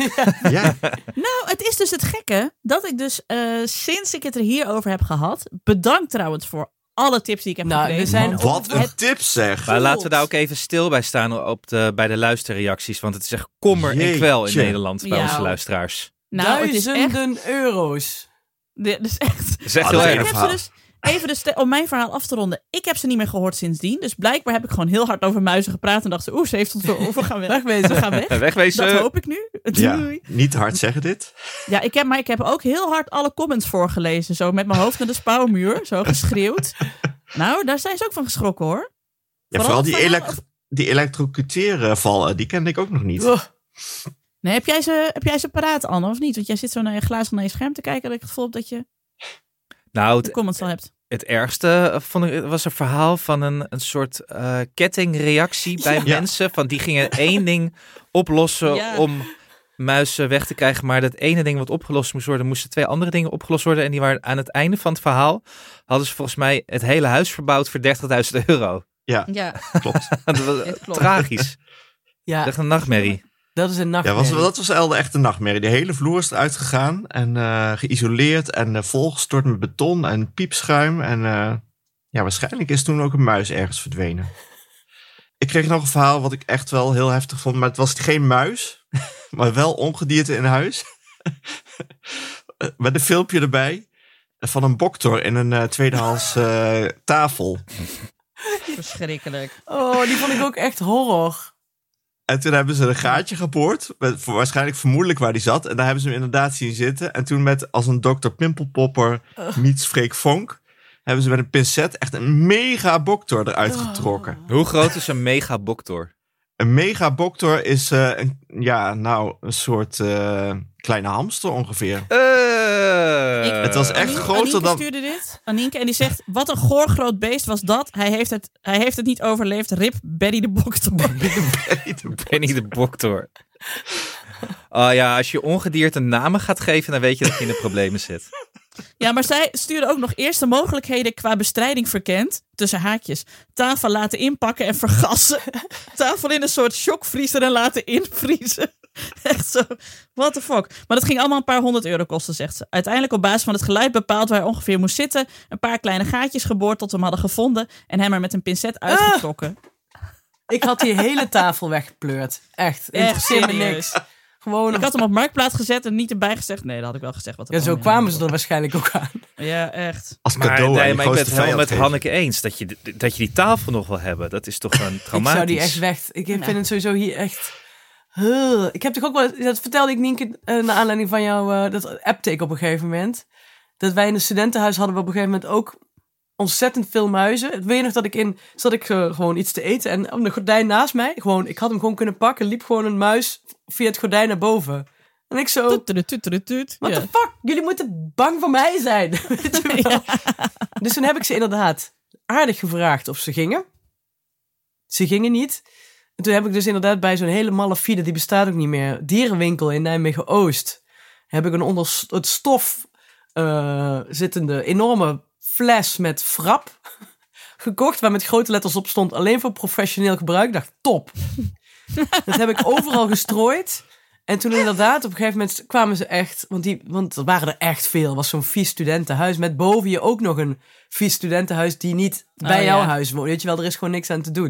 Speaker 1: Ja,
Speaker 3: Nou, het is dus het gekke dat ik dus eh, sinds ik het er hierover heb gehad. Bedankt trouwens voor alle tips die ik heb
Speaker 2: Nou,
Speaker 3: gekregen.
Speaker 2: we zijn
Speaker 1: wat een
Speaker 2: Het-
Speaker 1: tip zeg.
Speaker 4: Maar laten we daar ook even stil bij staan op de, bij de luisterreacties. Want het is echt kommer en
Speaker 1: Jeetje.
Speaker 4: kwel in Nederland bij
Speaker 3: Ja.
Speaker 4: onze luisteraars.
Speaker 3: Nou, het is echt,
Speaker 2: Duizenden euro's.
Speaker 3: dit is echt
Speaker 4: Het is echt
Speaker 1: Ah,
Speaker 4: heel
Speaker 1: dat
Speaker 3: Dus
Speaker 1: is
Speaker 4: erg.
Speaker 3: ik heb ze
Speaker 1: verhaal.
Speaker 3: dus, even dus te- om mijn verhaal af te ronden. Ik heb ze niet meer gehoord sindsdien. Dus blijkbaar heb ik gewoon heel hard over muizen gepraat. En dacht ze, oeh, ze heeft ons wel over. We gaan weg. We gaan weg.
Speaker 4: Wegwezen.
Speaker 3: Dat hoop ik nu.
Speaker 1: Ja,
Speaker 3: Doei.
Speaker 1: niet hard zeggen dit.
Speaker 3: Ja, ik heb, maar ik heb ook heel hard alle comments voorgelezen. Zo met mijn hoofd naar de spouwmuur. Zo geschreeuwd. Nou, daar zijn ze ook van geschrokken hoor.
Speaker 1: Ja,
Speaker 3: Vooral
Speaker 1: vooral die,
Speaker 3: van-
Speaker 1: elekt die elektrocuteren vallen, die kende ik ook nog niet.
Speaker 2: Oh,
Speaker 3: Nee, heb jij ze, heb jij ze paraat, Anne, of niet? Want jij zit zo naar je glazen naar je scherm te kijken. Dat ik het gevoel heb dat je
Speaker 4: Nou,
Speaker 3: de
Speaker 4: het,
Speaker 3: comments al hebt.
Speaker 4: het ergste eh, vond ik, was een verhaal van een, een soort eh, kettingreactie bij
Speaker 1: Ja.
Speaker 4: mensen. Van die gingen één ding oplossen
Speaker 3: Ja.
Speaker 4: om muis eh, weg te krijgen. Maar dat ene ding wat opgelost moest worden, moesten twee andere dingen opgelost worden. En die waren aan het einde van het verhaal, hadden ze volgens mij het hele huis verbouwd voor 30.000 euro.
Speaker 1: Ja,
Speaker 3: Ja,
Speaker 1: klopt.
Speaker 4: dat was
Speaker 3: dit klopt.
Speaker 4: tragisch.
Speaker 2: Ja,
Speaker 4: Echt een nachtmerrie.
Speaker 2: dat is een nacht.
Speaker 1: Ja, was, dat was Elde echt een nachtmerrie. De hele vloer is eruit gegaan en eh, geïsoleerd en eh, volgestort met beton en piepschuim. En eh, ja, waarschijnlijk is toen ook een muis ergens verdwenen. Ik kreeg nog een verhaal wat ik echt wel heel heftig vond. Maar het was geen muis, maar wel ongedierte in huis. Eh, met een filmpje erbij van een boktor in een eh, tweedehands eh, tafel.
Speaker 3: verschrikkelijk.
Speaker 2: Oh, die vond ik ook echt horror.
Speaker 1: En toen hebben ze een gaatje geboord. Met, voor- waarschijnlijk vermoedelijk waar die zat. En daar hebben ze hem inderdaad zien zitten. En toen met als een Dr. Pimpelpopper
Speaker 2: Oh.
Speaker 1: niets Freek Vonk. Hebben ze met een pincet echt een mega boktor eruit
Speaker 2: Oh.
Speaker 1: getrokken.
Speaker 4: Hoe groot is een mega boktor?
Speaker 1: Een mega boktor is eh, een, ja, nou, een soort eh, kleine hamster ongeveer.
Speaker 4: Eh.
Speaker 1: Het was echt
Speaker 3: Aniek-
Speaker 1: groter
Speaker 3: Anieke
Speaker 1: dan-
Speaker 3: stuurde dit. Anienke en die zegt, wat een goor groot beest was dat. Hij heeft het, hij heeft het niet overleefd. Rip Betty de Bok te
Speaker 4: Benny de boktor. Oh ja, als je ongedierte namen gaat geven, dan weet je dat je in de problemen zit.
Speaker 3: Ja, maar zij stuurde ook nog eerst de mogelijkheden qua bestrijding verkend. Tussen haakjes. Tafel laten inpakken en vergassen. Tafel in een soort shockvriezer en laten invriezen. Echt zo, what the fuck. Maar dat ging allemaal een paar honderd euro kosten, zegt ze. Uiteindelijk op basis van het geluid bepaald waar hij ongeveer moest zitten. Een paar kleine gaatjes geboord tot we hem hadden gevonden. En hem er met een pincet uitgetrokken.
Speaker 2: Ik had die hele tafel weggepleurd. Echt. Interesseer me
Speaker 3: serieus.
Speaker 2: niks. Gewoon.
Speaker 3: Ik had hem op marktplaats gezet en niet erbij gezegd. Nee, dat had ik wel gezegd. Wat er
Speaker 2: Ja, zo
Speaker 3: allemaal
Speaker 2: kwamen ze er waarschijnlijk ook aan.
Speaker 3: Ja, echt.
Speaker 1: Als
Speaker 4: Maar,
Speaker 1: cadeau aan
Speaker 4: nee,
Speaker 1: je
Speaker 4: maar ik ben
Speaker 1: grootste
Speaker 4: het helemaal met
Speaker 1: vijand geven.
Speaker 4: Hanneke eens. Dat je, d- dat je die tafel nog wil hebben, dat is toch een
Speaker 2: Ik
Speaker 4: traumatisch.
Speaker 2: zou die echt weg. Ik vind het sowieso hier echt. Huh. Ik heb toch ook wel. Dat vertelde ik Nienke eh, naar aanleiding van jouw eh, dat apptake op een gegeven moment. Dat wij in een studentenhuis hadden we op een gegeven moment ook ontzettend veel muizen. Weet je nog dat ik in zat ik eh, gewoon iets te eten en op de gordijn naast mij gewoon. Ik had hem gewoon kunnen pakken. Liep gewoon een muis via het gordijn naar boven. En ik zo.
Speaker 3: Toetere, toetere, toet.
Speaker 2: What
Speaker 3: Ja.
Speaker 2: the fuck? Jullie moeten bang voor mij zijn. Weet je wel? Dus toen heb ik ze inderdaad aardig gevraagd of ze gingen. Ze gingen niet. En toen heb ik dus inderdaad bij zo'n hele malle file, die bestaat ook niet meer, dierenwinkel in Nijmegen-Oost, heb ik een onder s- het stof eh, zittende enorme fles met frap gekocht, waar met grote letters op stond alleen voor professioneel gebruik. Ik dacht, top. Dat heb ik overal gestrooid. En toen inderdaad, op een gegeven moment kwamen ze echt, want, die, want er waren er echt veel. Er was zo'n vies studentenhuis met boven je ook nog een vies studentenhuis die niet bij
Speaker 3: Oh,
Speaker 2: jouw
Speaker 3: ja.
Speaker 2: huis woont. Weet je wel, er is gewoon niks aan te doen.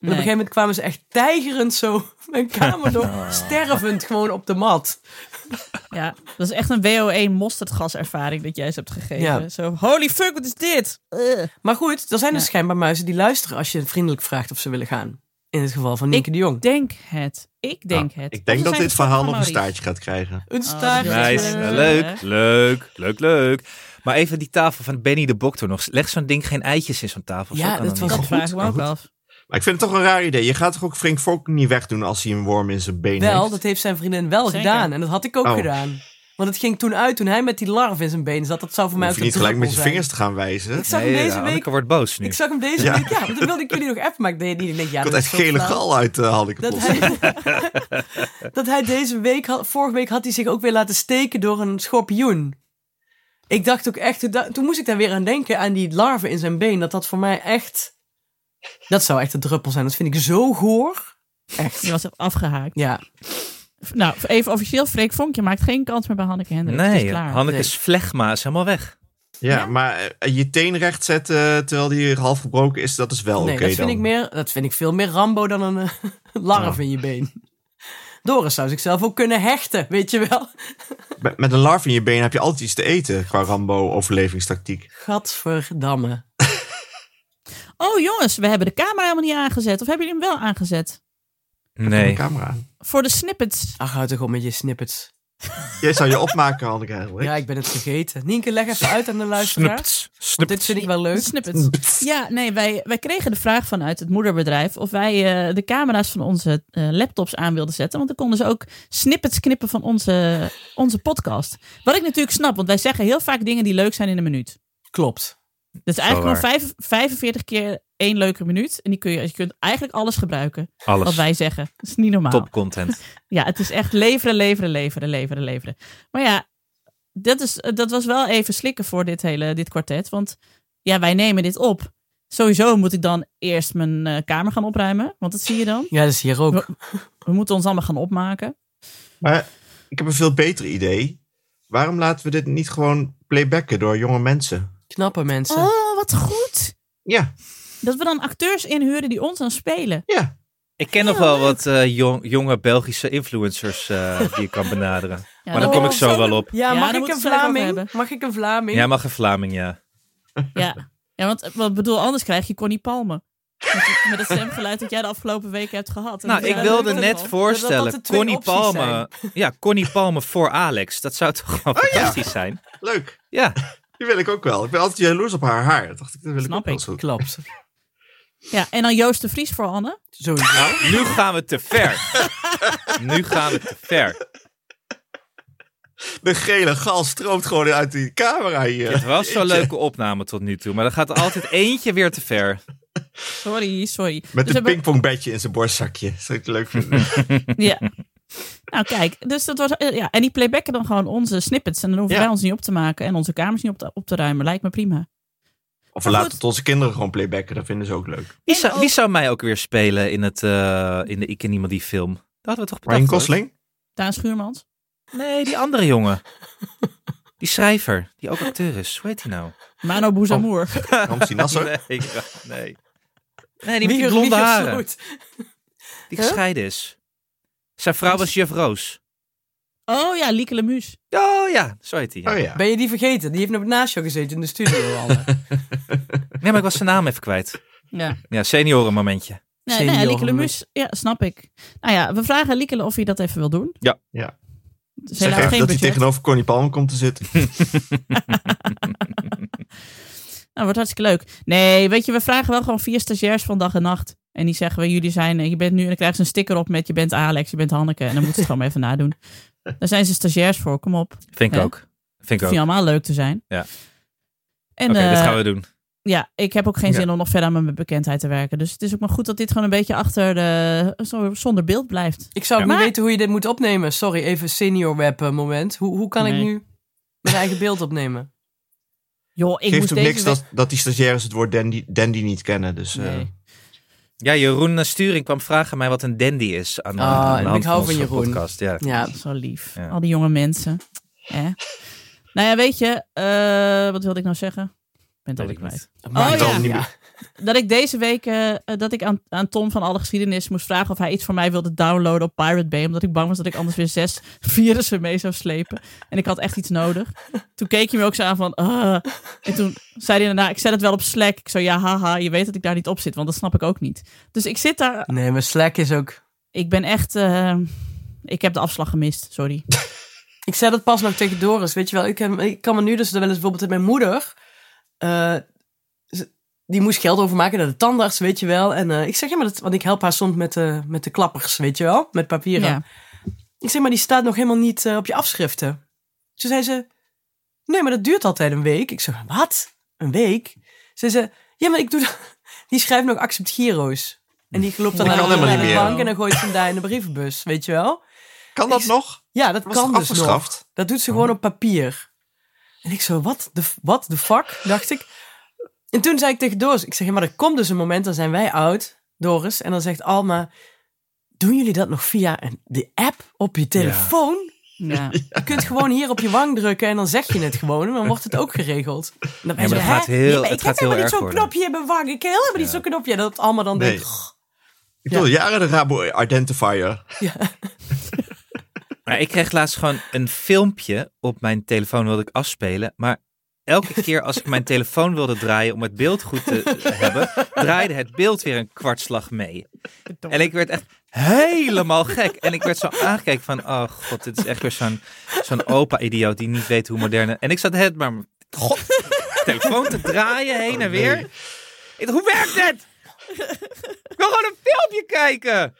Speaker 2: En
Speaker 3: Nee.
Speaker 2: op een gegeven moment kwamen ze echt tijgerend zo mijn kamer door,
Speaker 3: Nou.
Speaker 2: stervend gewoon op de mat.
Speaker 3: Ja, dat is echt een WO1 mosterdgaservaring dat jij ze hebt gegeven.
Speaker 2: Ja.
Speaker 3: Zo, holy fuck, wat is dit? Ugh.
Speaker 2: Maar goed, er zijn dus
Speaker 3: Ja.
Speaker 2: schijnbaar muizen die luisteren als je vriendelijk vraagt of ze willen gaan. In het geval van Nienke de Jong.
Speaker 3: Denk het. Ik denk het.
Speaker 1: Nou, Ik denk
Speaker 3: Of
Speaker 1: dat
Speaker 3: zijn
Speaker 1: dit
Speaker 3: de
Speaker 1: verhaal nog
Speaker 3: Maurice.
Speaker 1: een staartje gaat krijgen.
Speaker 2: Een
Speaker 3: Oh,
Speaker 2: staartje.
Speaker 3: dat is
Speaker 4: Nice,
Speaker 3: Eh.
Speaker 4: leuk, leuk, leuk, leuk. Maar even die tafel van Benny de Boktor nog. Leg zo'n ding geen eitjes in zo'n tafel.
Speaker 2: Ja,
Speaker 4: Zo kan
Speaker 2: dat was
Speaker 4: niet.
Speaker 3: Dat
Speaker 2: Goed,
Speaker 3: vraag ik me ook
Speaker 1: goed.
Speaker 3: af.
Speaker 1: Maar ik vind het toch een raar idee. Je gaat toch ook Frink Vonk niet wegdoen als hij een worm in zijn been
Speaker 2: Wel,
Speaker 1: heeft?
Speaker 2: dat heeft zijn vriendin wel
Speaker 3: Zeker.
Speaker 2: gedaan. En dat had ik ook
Speaker 1: Oh.
Speaker 2: gedaan. Want het ging toen uit toen hij met die larf in zijn been zat. Dat zou voor mij
Speaker 1: Hoef je
Speaker 2: ook
Speaker 1: niet
Speaker 2: de
Speaker 1: gelijk met je
Speaker 2: druppel zijn.
Speaker 1: vingers te gaan wijzen.
Speaker 2: Ik zag
Speaker 4: Nee,
Speaker 2: hem
Speaker 4: ja,
Speaker 2: deze
Speaker 4: Anneke
Speaker 2: week.
Speaker 4: wordt boos nu.
Speaker 2: Ik zag hem deze
Speaker 1: Ja.
Speaker 2: week. Ja, want dat wilde ik jullie nog even maken. Ik deed niet. Ik denk, ja,
Speaker 1: Ik had
Speaker 2: dat
Speaker 1: echt
Speaker 2: is zo
Speaker 1: gele
Speaker 2: flauw.
Speaker 1: gal uit eh, had ik
Speaker 2: Dat
Speaker 1: plots.
Speaker 2: hij, dat hij deze week, had, vorige week had hij zich ook weer laten steken door een schorpioen. Ik dacht ook echt, toen da- toen moest ik daar weer aan denken, aan die larven in zijn been. Dat dat voor mij echt, dat zou echt de druppel zijn. Dat vind ik zo goor.
Speaker 3: Je was afgehaakt.
Speaker 2: Ja,
Speaker 3: Nou, even officieel, Freek Vonk, je maakt geen kans meer bij Hanneke Hendrik. het is
Speaker 4: Nee,
Speaker 3: klaar.
Speaker 4: Hanneke's flegma is helemaal weg.
Speaker 1: Ja, maar eh, je teen recht zetten eh, terwijl die half gebroken is, dat is wel
Speaker 2: nee,
Speaker 1: oké
Speaker 2: dat, vind
Speaker 1: dan.
Speaker 2: ik meer, dat vind ik veel meer Rambo dan een eh, larf in je been. Doris zou zichzelf ook kunnen hechten, weet je wel.
Speaker 1: Met- Met een larf in je been heb je altijd iets te eten qua Rambo-overlevingstactiek.
Speaker 2: Gadverdamme.
Speaker 3: Oh jongens, we hebben de camera helemaal niet aangezet. Of hebben jullie hem wel aangezet?
Speaker 1: De
Speaker 4: Nee.
Speaker 1: camera aan.
Speaker 3: Voor de snippets.
Speaker 2: Ach, houd toch op met je snippets.
Speaker 1: Jij zou je opmaken, Hanneke eigenlijk.
Speaker 2: Ja, ik ben het vergeten. Nienke, leg even uit aan de luisteraar.
Speaker 4: Snupt,
Speaker 2: Dit
Speaker 4: snupt.
Speaker 2: vind ik wel
Speaker 3: De
Speaker 2: leuk.
Speaker 3: snippets. Ja, nee, wij, wij kregen de vraag vanuit het moederbedrijf of wij eh, de camera's van onze eh, laptops aan wilden zetten. Want dan konden ze ook snippets knippen van onze, onze podcast. Wat ik natuurlijk snap, want wij zeggen heel vaak dingen die leuk zijn in een minuut.
Speaker 2: Klopt.
Speaker 3: Dat is eigenlijk
Speaker 4: waar.
Speaker 3: gewoon vijf- 45 keer één leuke minuut. En die kun je, je kunt eigenlijk alles gebruiken wat
Speaker 4: Alles.
Speaker 3: wij zeggen. Dat is niet normaal.
Speaker 4: Top content.
Speaker 3: Ja, het is echt leveren, leveren, leveren, leveren, leveren. Maar ja, dat, is, dat was wel even slikken voor dit hele dit kwartet. Want ja, wij nemen dit op. Sowieso moet ik dan eerst mijn eh, kamer gaan opruimen. Want dat zie je dan.
Speaker 2: Ja, dat is hier ook.
Speaker 3: We moeten ons allemaal gaan opmaken.
Speaker 1: Maar ik heb een veel beter idee. Waarom laten we dit niet gewoon playbacken door jonge mensen?
Speaker 2: Knappe mensen.
Speaker 3: Oh, wat goed!
Speaker 1: Ja,
Speaker 3: Dat we dan acteurs inhuren die ons dan spelen.
Speaker 1: ja.
Speaker 4: Ik ken nog wel wat eh, jong, jonge Belgische influencers eh, die je kan benaderen.
Speaker 3: Ja,
Speaker 4: maar daar
Speaker 2: dat-
Speaker 4: kom ik zo wel op.
Speaker 2: Ja,
Speaker 3: Ja,
Speaker 2: mag
Speaker 3: daar
Speaker 2: ik
Speaker 3: moeten
Speaker 2: een
Speaker 3: we het zo even
Speaker 2: Vlaming?
Speaker 3: over hebben.
Speaker 2: Mag ik een Vlaming?
Speaker 4: Jij mag een Vlaming, ja.
Speaker 3: Ja, ja want eh, wat bedoel, anders krijg je Connie Palme. Met, met het stemgeluid dat jij de afgelopen weken hebt gehad. En
Speaker 4: Nou,
Speaker 3: dat
Speaker 4: ik
Speaker 3: jij
Speaker 4: wilde
Speaker 3: daar
Speaker 4: net
Speaker 3: van-
Speaker 2: dat
Speaker 4: voorstellen,
Speaker 2: de twee
Speaker 4: Connie
Speaker 2: opties
Speaker 4: Palme, ja, Connie Palme voor Alex. Dat zou toch gewoon fantastisch zijn?
Speaker 1: Leuk.
Speaker 4: Ja,
Speaker 1: Die wil ik ook wel. Ik ben altijd jaloers op haar haar. Dat dacht ik, dat wil
Speaker 3: Snap
Speaker 1: ik ook
Speaker 3: ik.
Speaker 1: wel zo.
Speaker 2: Klopt.
Speaker 3: Ja, en dan Joost de Vries voor Anne.
Speaker 2: Sowieso.
Speaker 4: nou, nu gaan we te ver. Nu gaan we te ver.
Speaker 1: De gele gal stroomt gewoon uit die camera
Speaker 4: Het
Speaker 1: hier.
Speaker 4: was zo'n leuke opname tot nu toe, maar er gaat er altijd eentje weer te ver.
Speaker 3: Sorry, sorry. Dus
Speaker 1: Met
Speaker 3: we
Speaker 1: een
Speaker 3: hebben-
Speaker 1: pingpongbedje in zijn borstzakje. Zou ik het leuk vinden.
Speaker 3: Ja. Nou, kijk, dus dat was. eh, Ja, en die playbacken dan gewoon onze snippets. En dan hoeven
Speaker 1: Ja.
Speaker 3: wij ons niet op te maken en onze kamers niet op te, op te ruimen. Lijkt me prima.
Speaker 1: Of we
Speaker 3: Maar
Speaker 1: laten
Speaker 3: goed.
Speaker 1: het onze kinderen gewoon playbacken. Dat vinden ze ook leuk.
Speaker 3: En
Speaker 4: Wie zou,
Speaker 3: ook-
Speaker 4: wie zou mij ook weer spelen in, het, eh, in de Ik en Niemand Die film? Dat hadden we toch bedacht?
Speaker 1: Ryan
Speaker 4: hoor?
Speaker 1: Gosling?
Speaker 3: Daan Schuurmans.
Speaker 4: Nee, die andere jongen. Die schrijver, die ook acteur is. Hoe heet die nou?
Speaker 1: Oh.
Speaker 3: Mano Boezamoer.
Speaker 1: Ramsey
Speaker 4: Ah,
Speaker 1: Nasser?
Speaker 4: Nee, ik- nee. Nee, die met die
Speaker 2: Mieke-
Speaker 4: blonde
Speaker 2: Mieke
Speaker 4: haren.
Speaker 2: Sloot.
Speaker 4: Die gescheiden is. Zijn vrouw was Juf Roos.
Speaker 3: Oh ja, Lieke Lemus.
Speaker 4: Oh ja, zo heet die. Ja.
Speaker 1: Oh ja.
Speaker 2: Ben je die vergeten? Die heeft nog naast jou gezeten in de studio. al.
Speaker 4: Nee, maar ik was zijn naam even kwijt.
Speaker 3: Ja.
Speaker 4: Ja, senioren momentje.
Speaker 3: Nee,
Speaker 2: Senioren
Speaker 3: nee, Lieke
Speaker 2: met-
Speaker 3: Lemus. Ja, snap ik. Nou ja, we vragen Lieke Le- of hij dat even wil doen.
Speaker 4: Ja.
Speaker 1: Ja.
Speaker 3: Dus
Speaker 1: Zeg
Speaker 3: helaas
Speaker 1: even
Speaker 3: geen
Speaker 1: dat hij
Speaker 3: budget.
Speaker 1: tegenover Connie Palm komt te zitten.
Speaker 3: Nou, wordt hartstikke leuk. Nee, weet je, we vragen wel gewoon vier stagiairs van dag en nacht. En die zeggen we, jullie zijn, eh, je bent nu, en dan krijgen ze een sticker op met je bent Alex, je bent Hanneke. En dan moeten ze het gewoon even nadoen. Daar zijn ze stagiairs voor, kom op.
Speaker 4: Vind ik
Speaker 3: Ja.
Speaker 4: ook. Vind ik
Speaker 3: Vind
Speaker 4: ook.
Speaker 3: je
Speaker 4: Oké,
Speaker 3: allemaal leuk te zijn.
Speaker 4: Ja.
Speaker 3: En
Speaker 4: dat
Speaker 3: eh,
Speaker 4: gaan we doen.
Speaker 3: ja, ik heb ook geen
Speaker 4: Ja.
Speaker 3: zin om nog verder aan mijn bekendheid te werken. Dus het is ook maar goed dat dit gewoon een beetje achter de, zo- zonder beeld blijft.
Speaker 2: Ik zou ook
Speaker 4: Ja.
Speaker 2: niet
Speaker 3: Maar-
Speaker 2: weten hoe je dit moet opnemen. Sorry, even senior web eh, moment. Hoe, hoe kan ik
Speaker 3: Nee.
Speaker 2: nu mijn eigen beeld opnemen?
Speaker 3: Joh, ik
Speaker 1: Geeft
Speaker 3: moest
Speaker 1: ook
Speaker 3: deze
Speaker 1: niks dat, dat die stagiaires het woord dandy, dandy niet kennen. Dus,
Speaker 3: week-
Speaker 1: eh,
Speaker 3: Nee.
Speaker 4: Ja, Jeroen eh, Sturing kwam vragen aan mij wat een dandy is. Aan,
Speaker 2: Ah,
Speaker 4: aan de
Speaker 2: ik
Speaker 4: hand
Speaker 2: hou van
Speaker 4: onze
Speaker 2: Jeroen.
Speaker 4: Podcast. Ja.
Speaker 2: Ja,
Speaker 3: Zo lief.
Speaker 4: Ja.
Speaker 3: Al die jonge mensen. Hè? nou ja, weet je, eh, wat wilde ik nou zeggen? Ik ben het
Speaker 4: Weet
Speaker 3: alweer
Speaker 4: ik
Speaker 3: kwijt.
Speaker 4: niet.
Speaker 2: dat maakt
Speaker 3: Oh
Speaker 2: wel
Speaker 3: ja.
Speaker 2: niet
Speaker 1: Ja.
Speaker 2: meer.
Speaker 3: Dat ik deze week eh, eh, dat ik aan, aan Tom van alle geschiedenis moest vragen of hij iets voor mij wilde downloaden op Pirate Bay. Omdat ik bang was dat ik anders weer zes virussen mee zou slepen. En ik had echt iets nodig. Toen keek hij me ook zo aan van. "Ah." En toen zei hij daarna: Ik zet het wel op Slack. Ik zo ja, haha. Je weet dat ik daar niet op zit, want dat snap ik ook niet. Dus ik zit daar
Speaker 2: Nee, maar Slack is ook...
Speaker 3: ik ben echt. eh, ik heb de afslag gemist, sorry.
Speaker 2: Ik zei dat pas nog tegen Doris, weet je wel. Ik, heb, ik kan me nu dus wel eens bijvoorbeeld met mijn moeder... eh, ze- die moest geld overmaken naar de tandarts, weet je wel. En eh, ik zeg, ja, maar dat... Want ik help haar soms met de, met de klappers, weet je wel. Met papieren.
Speaker 3: Ja.
Speaker 2: Ik zeg, maar die staat nog helemaal niet eh, op je afschriften. Toen zei ze, nee, maar dat duurt altijd een week. Ik zeg, wat? Een week? Ze zei, ja, maar ik doe dat. Die schrijft nog accept gyro's. En die loopt dan
Speaker 1: Dat
Speaker 2: naar
Speaker 1: kan
Speaker 2: de,
Speaker 1: helemaal
Speaker 2: naar
Speaker 1: niet
Speaker 2: de
Speaker 1: meer.
Speaker 2: bank en dan gooit ze hem daar in de brievenbus, weet je wel?
Speaker 1: Kan dat
Speaker 2: Ik-
Speaker 1: nog?
Speaker 2: Ja, dat
Speaker 1: Was
Speaker 2: kan
Speaker 1: het
Speaker 2: dus nog.
Speaker 1: afgeschaft?
Speaker 2: Dat doet ze
Speaker 4: Oh.
Speaker 2: gewoon op papier. En ik zo, wat de, wat de fuck, dacht ik. En toen zei ik tegen Doris, ik zeg, ja, maar er komt dus een moment, dan zijn wij oud, Doris. En dan zegt Alma, doen jullie dat nog via een, de app op je telefoon?
Speaker 3: Ja.
Speaker 2: Je kunt gewoon hier op je wang drukken en dan zeg je het gewoon. En dan wordt het ook geregeld. En dan ben je
Speaker 4: maar
Speaker 2: zo,
Speaker 4: dat gaat
Speaker 2: hè?
Speaker 4: heel-
Speaker 2: maar
Speaker 4: het
Speaker 2: ik heb
Speaker 4: gaat
Speaker 2: helemaal niet
Speaker 4: heel erg
Speaker 2: zo'n
Speaker 4: worden.
Speaker 2: knopje in mijn wang. Ik heb helemaal niet zo'n knopje. En Dat allemaal dan
Speaker 1: Nee.
Speaker 2: denkt... "Goh,
Speaker 1: Ik wil jaren de Rabo Identifier.
Speaker 4: Maar ik kreeg laatst gewoon een filmpje op mijn telefoon wilde ik afspelen, maar elke keer als ik mijn telefoon wilde draaien om het beeld goed te hebben, draaide het beeld weer een kwartslag mee. En ik werd echt helemaal gek. En ik werd zo aangekeken van, oh god, dit is echt weer zo'n zo'n opa-idioot die niet weet hoe moderne... En ik zat het maar, god, telefoon te draaien heen en weer. Ik dacht, hoe werkt dit? Ik wil gewoon een filmpje kijken.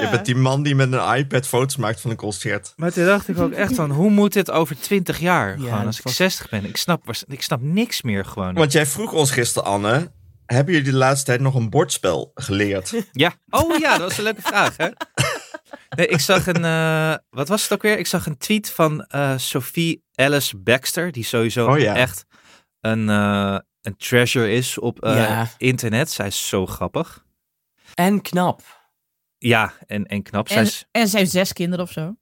Speaker 1: Je bent die man die met een iPad foto's maakt van een concert.
Speaker 4: Maar toen dacht ik ook echt van, hoe moet dit over 20 jaar?
Speaker 2: Ja,
Speaker 4: gewoon,
Speaker 2: dat
Speaker 4: als ik
Speaker 2: was-
Speaker 4: 60 ben. Ik snap, waars- ik snap niks meer gewoon.
Speaker 1: Want jij vroeg ons gisteren, Anne. Hebben jullie de laatste tijd nog een bordspel geleerd?
Speaker 4: Ja. Oh ja, dat was een leuke vraag, hè? Nee, ik zag een, eh, wat was het ook weer? Ik zag een tweet van eh, Sophie Alice Baxter, die sowieso
Speaker 1: Oh ja.
Speaker 4: echt een, eh, een treasure is op eh,
Speaker 2: Ja.
Speaker 4: internet. Zij is zo grappig.
Speaker 2: En knap.
Speaker 4: Ja, en, en knap. Zij
Speaker 3: En,
Speaker 4: is,
Speaker 3: en ze heeft zes kinderen of zo.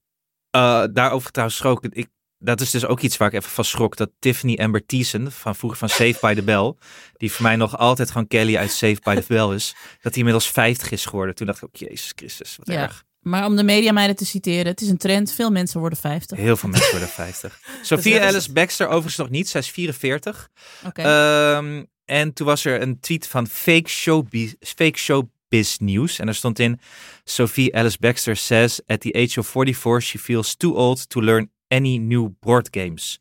Speaker 4: eh, daarover trouwens schrok ik. ik- Dat is dus ook iets waar ik even van schrok. Dat Tiffany Amber Thiessen, van vroeger van Saved by the Bell, die voor mij nog altijd gewoon Kelly uit Saved by the Bell is, dat die inmiddels 50 is geworden. Toen dacht ik ook, Jezus Christus, wat
Speaker 3: Ja.
Speaker 4: erg.
Speaker 3: Maar om de mediameiden te citeren, het is een trend. Veel mensen worden 50.
Speaker 4: Heel veel mensen worden 50.
Speaker 2: net
Speaker 4: Sophia
Speaker 2: als-
Speaker 4: Alice Baxter overigens nog niet. Zij is 44.
Speaker 3: Oké.
Speaker 4: Ehm, en toen was er een tweet van fake showbiz, fake showbiz nieuws. En daar stond in... Sophie Alice Baxter says... At the age of 44 she feels too old to learn any new board games.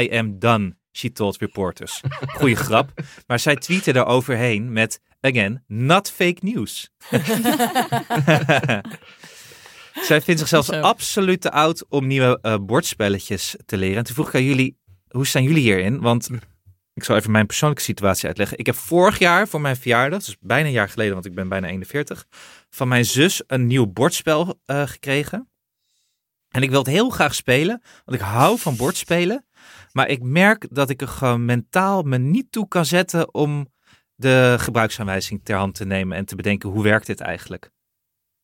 Speaker 4: I am done, she told reporters. Goeie grap. Maar zij tweette daaroverheen met... Again, not fake news. Zij vindt zichzelf
Speaker 3: Zo.
Speaker 4: absoluut te oud om nieuwe eh, bordspelletjes te leren. En toen vroeg ik aan jullie, hoe staan jullie hierin? Want ik zal even mijn persoonlijke situatie uitleggen. Ik heb vorig jaar voor mijn verjaardag, dus bijna een jaar geleden, want ik ben bijna 41, van mijn zus een nieuw bordspel eh, gekregen. En ik wil het heel graag spelen, want ik hou van bordspelen. Maar ik merk dat ik er gewoon mentaal me niet toe kan zetten om de gebruiksaanwijzing ter hand te nemen en te bedenken hoe werkt dit eigenlijk.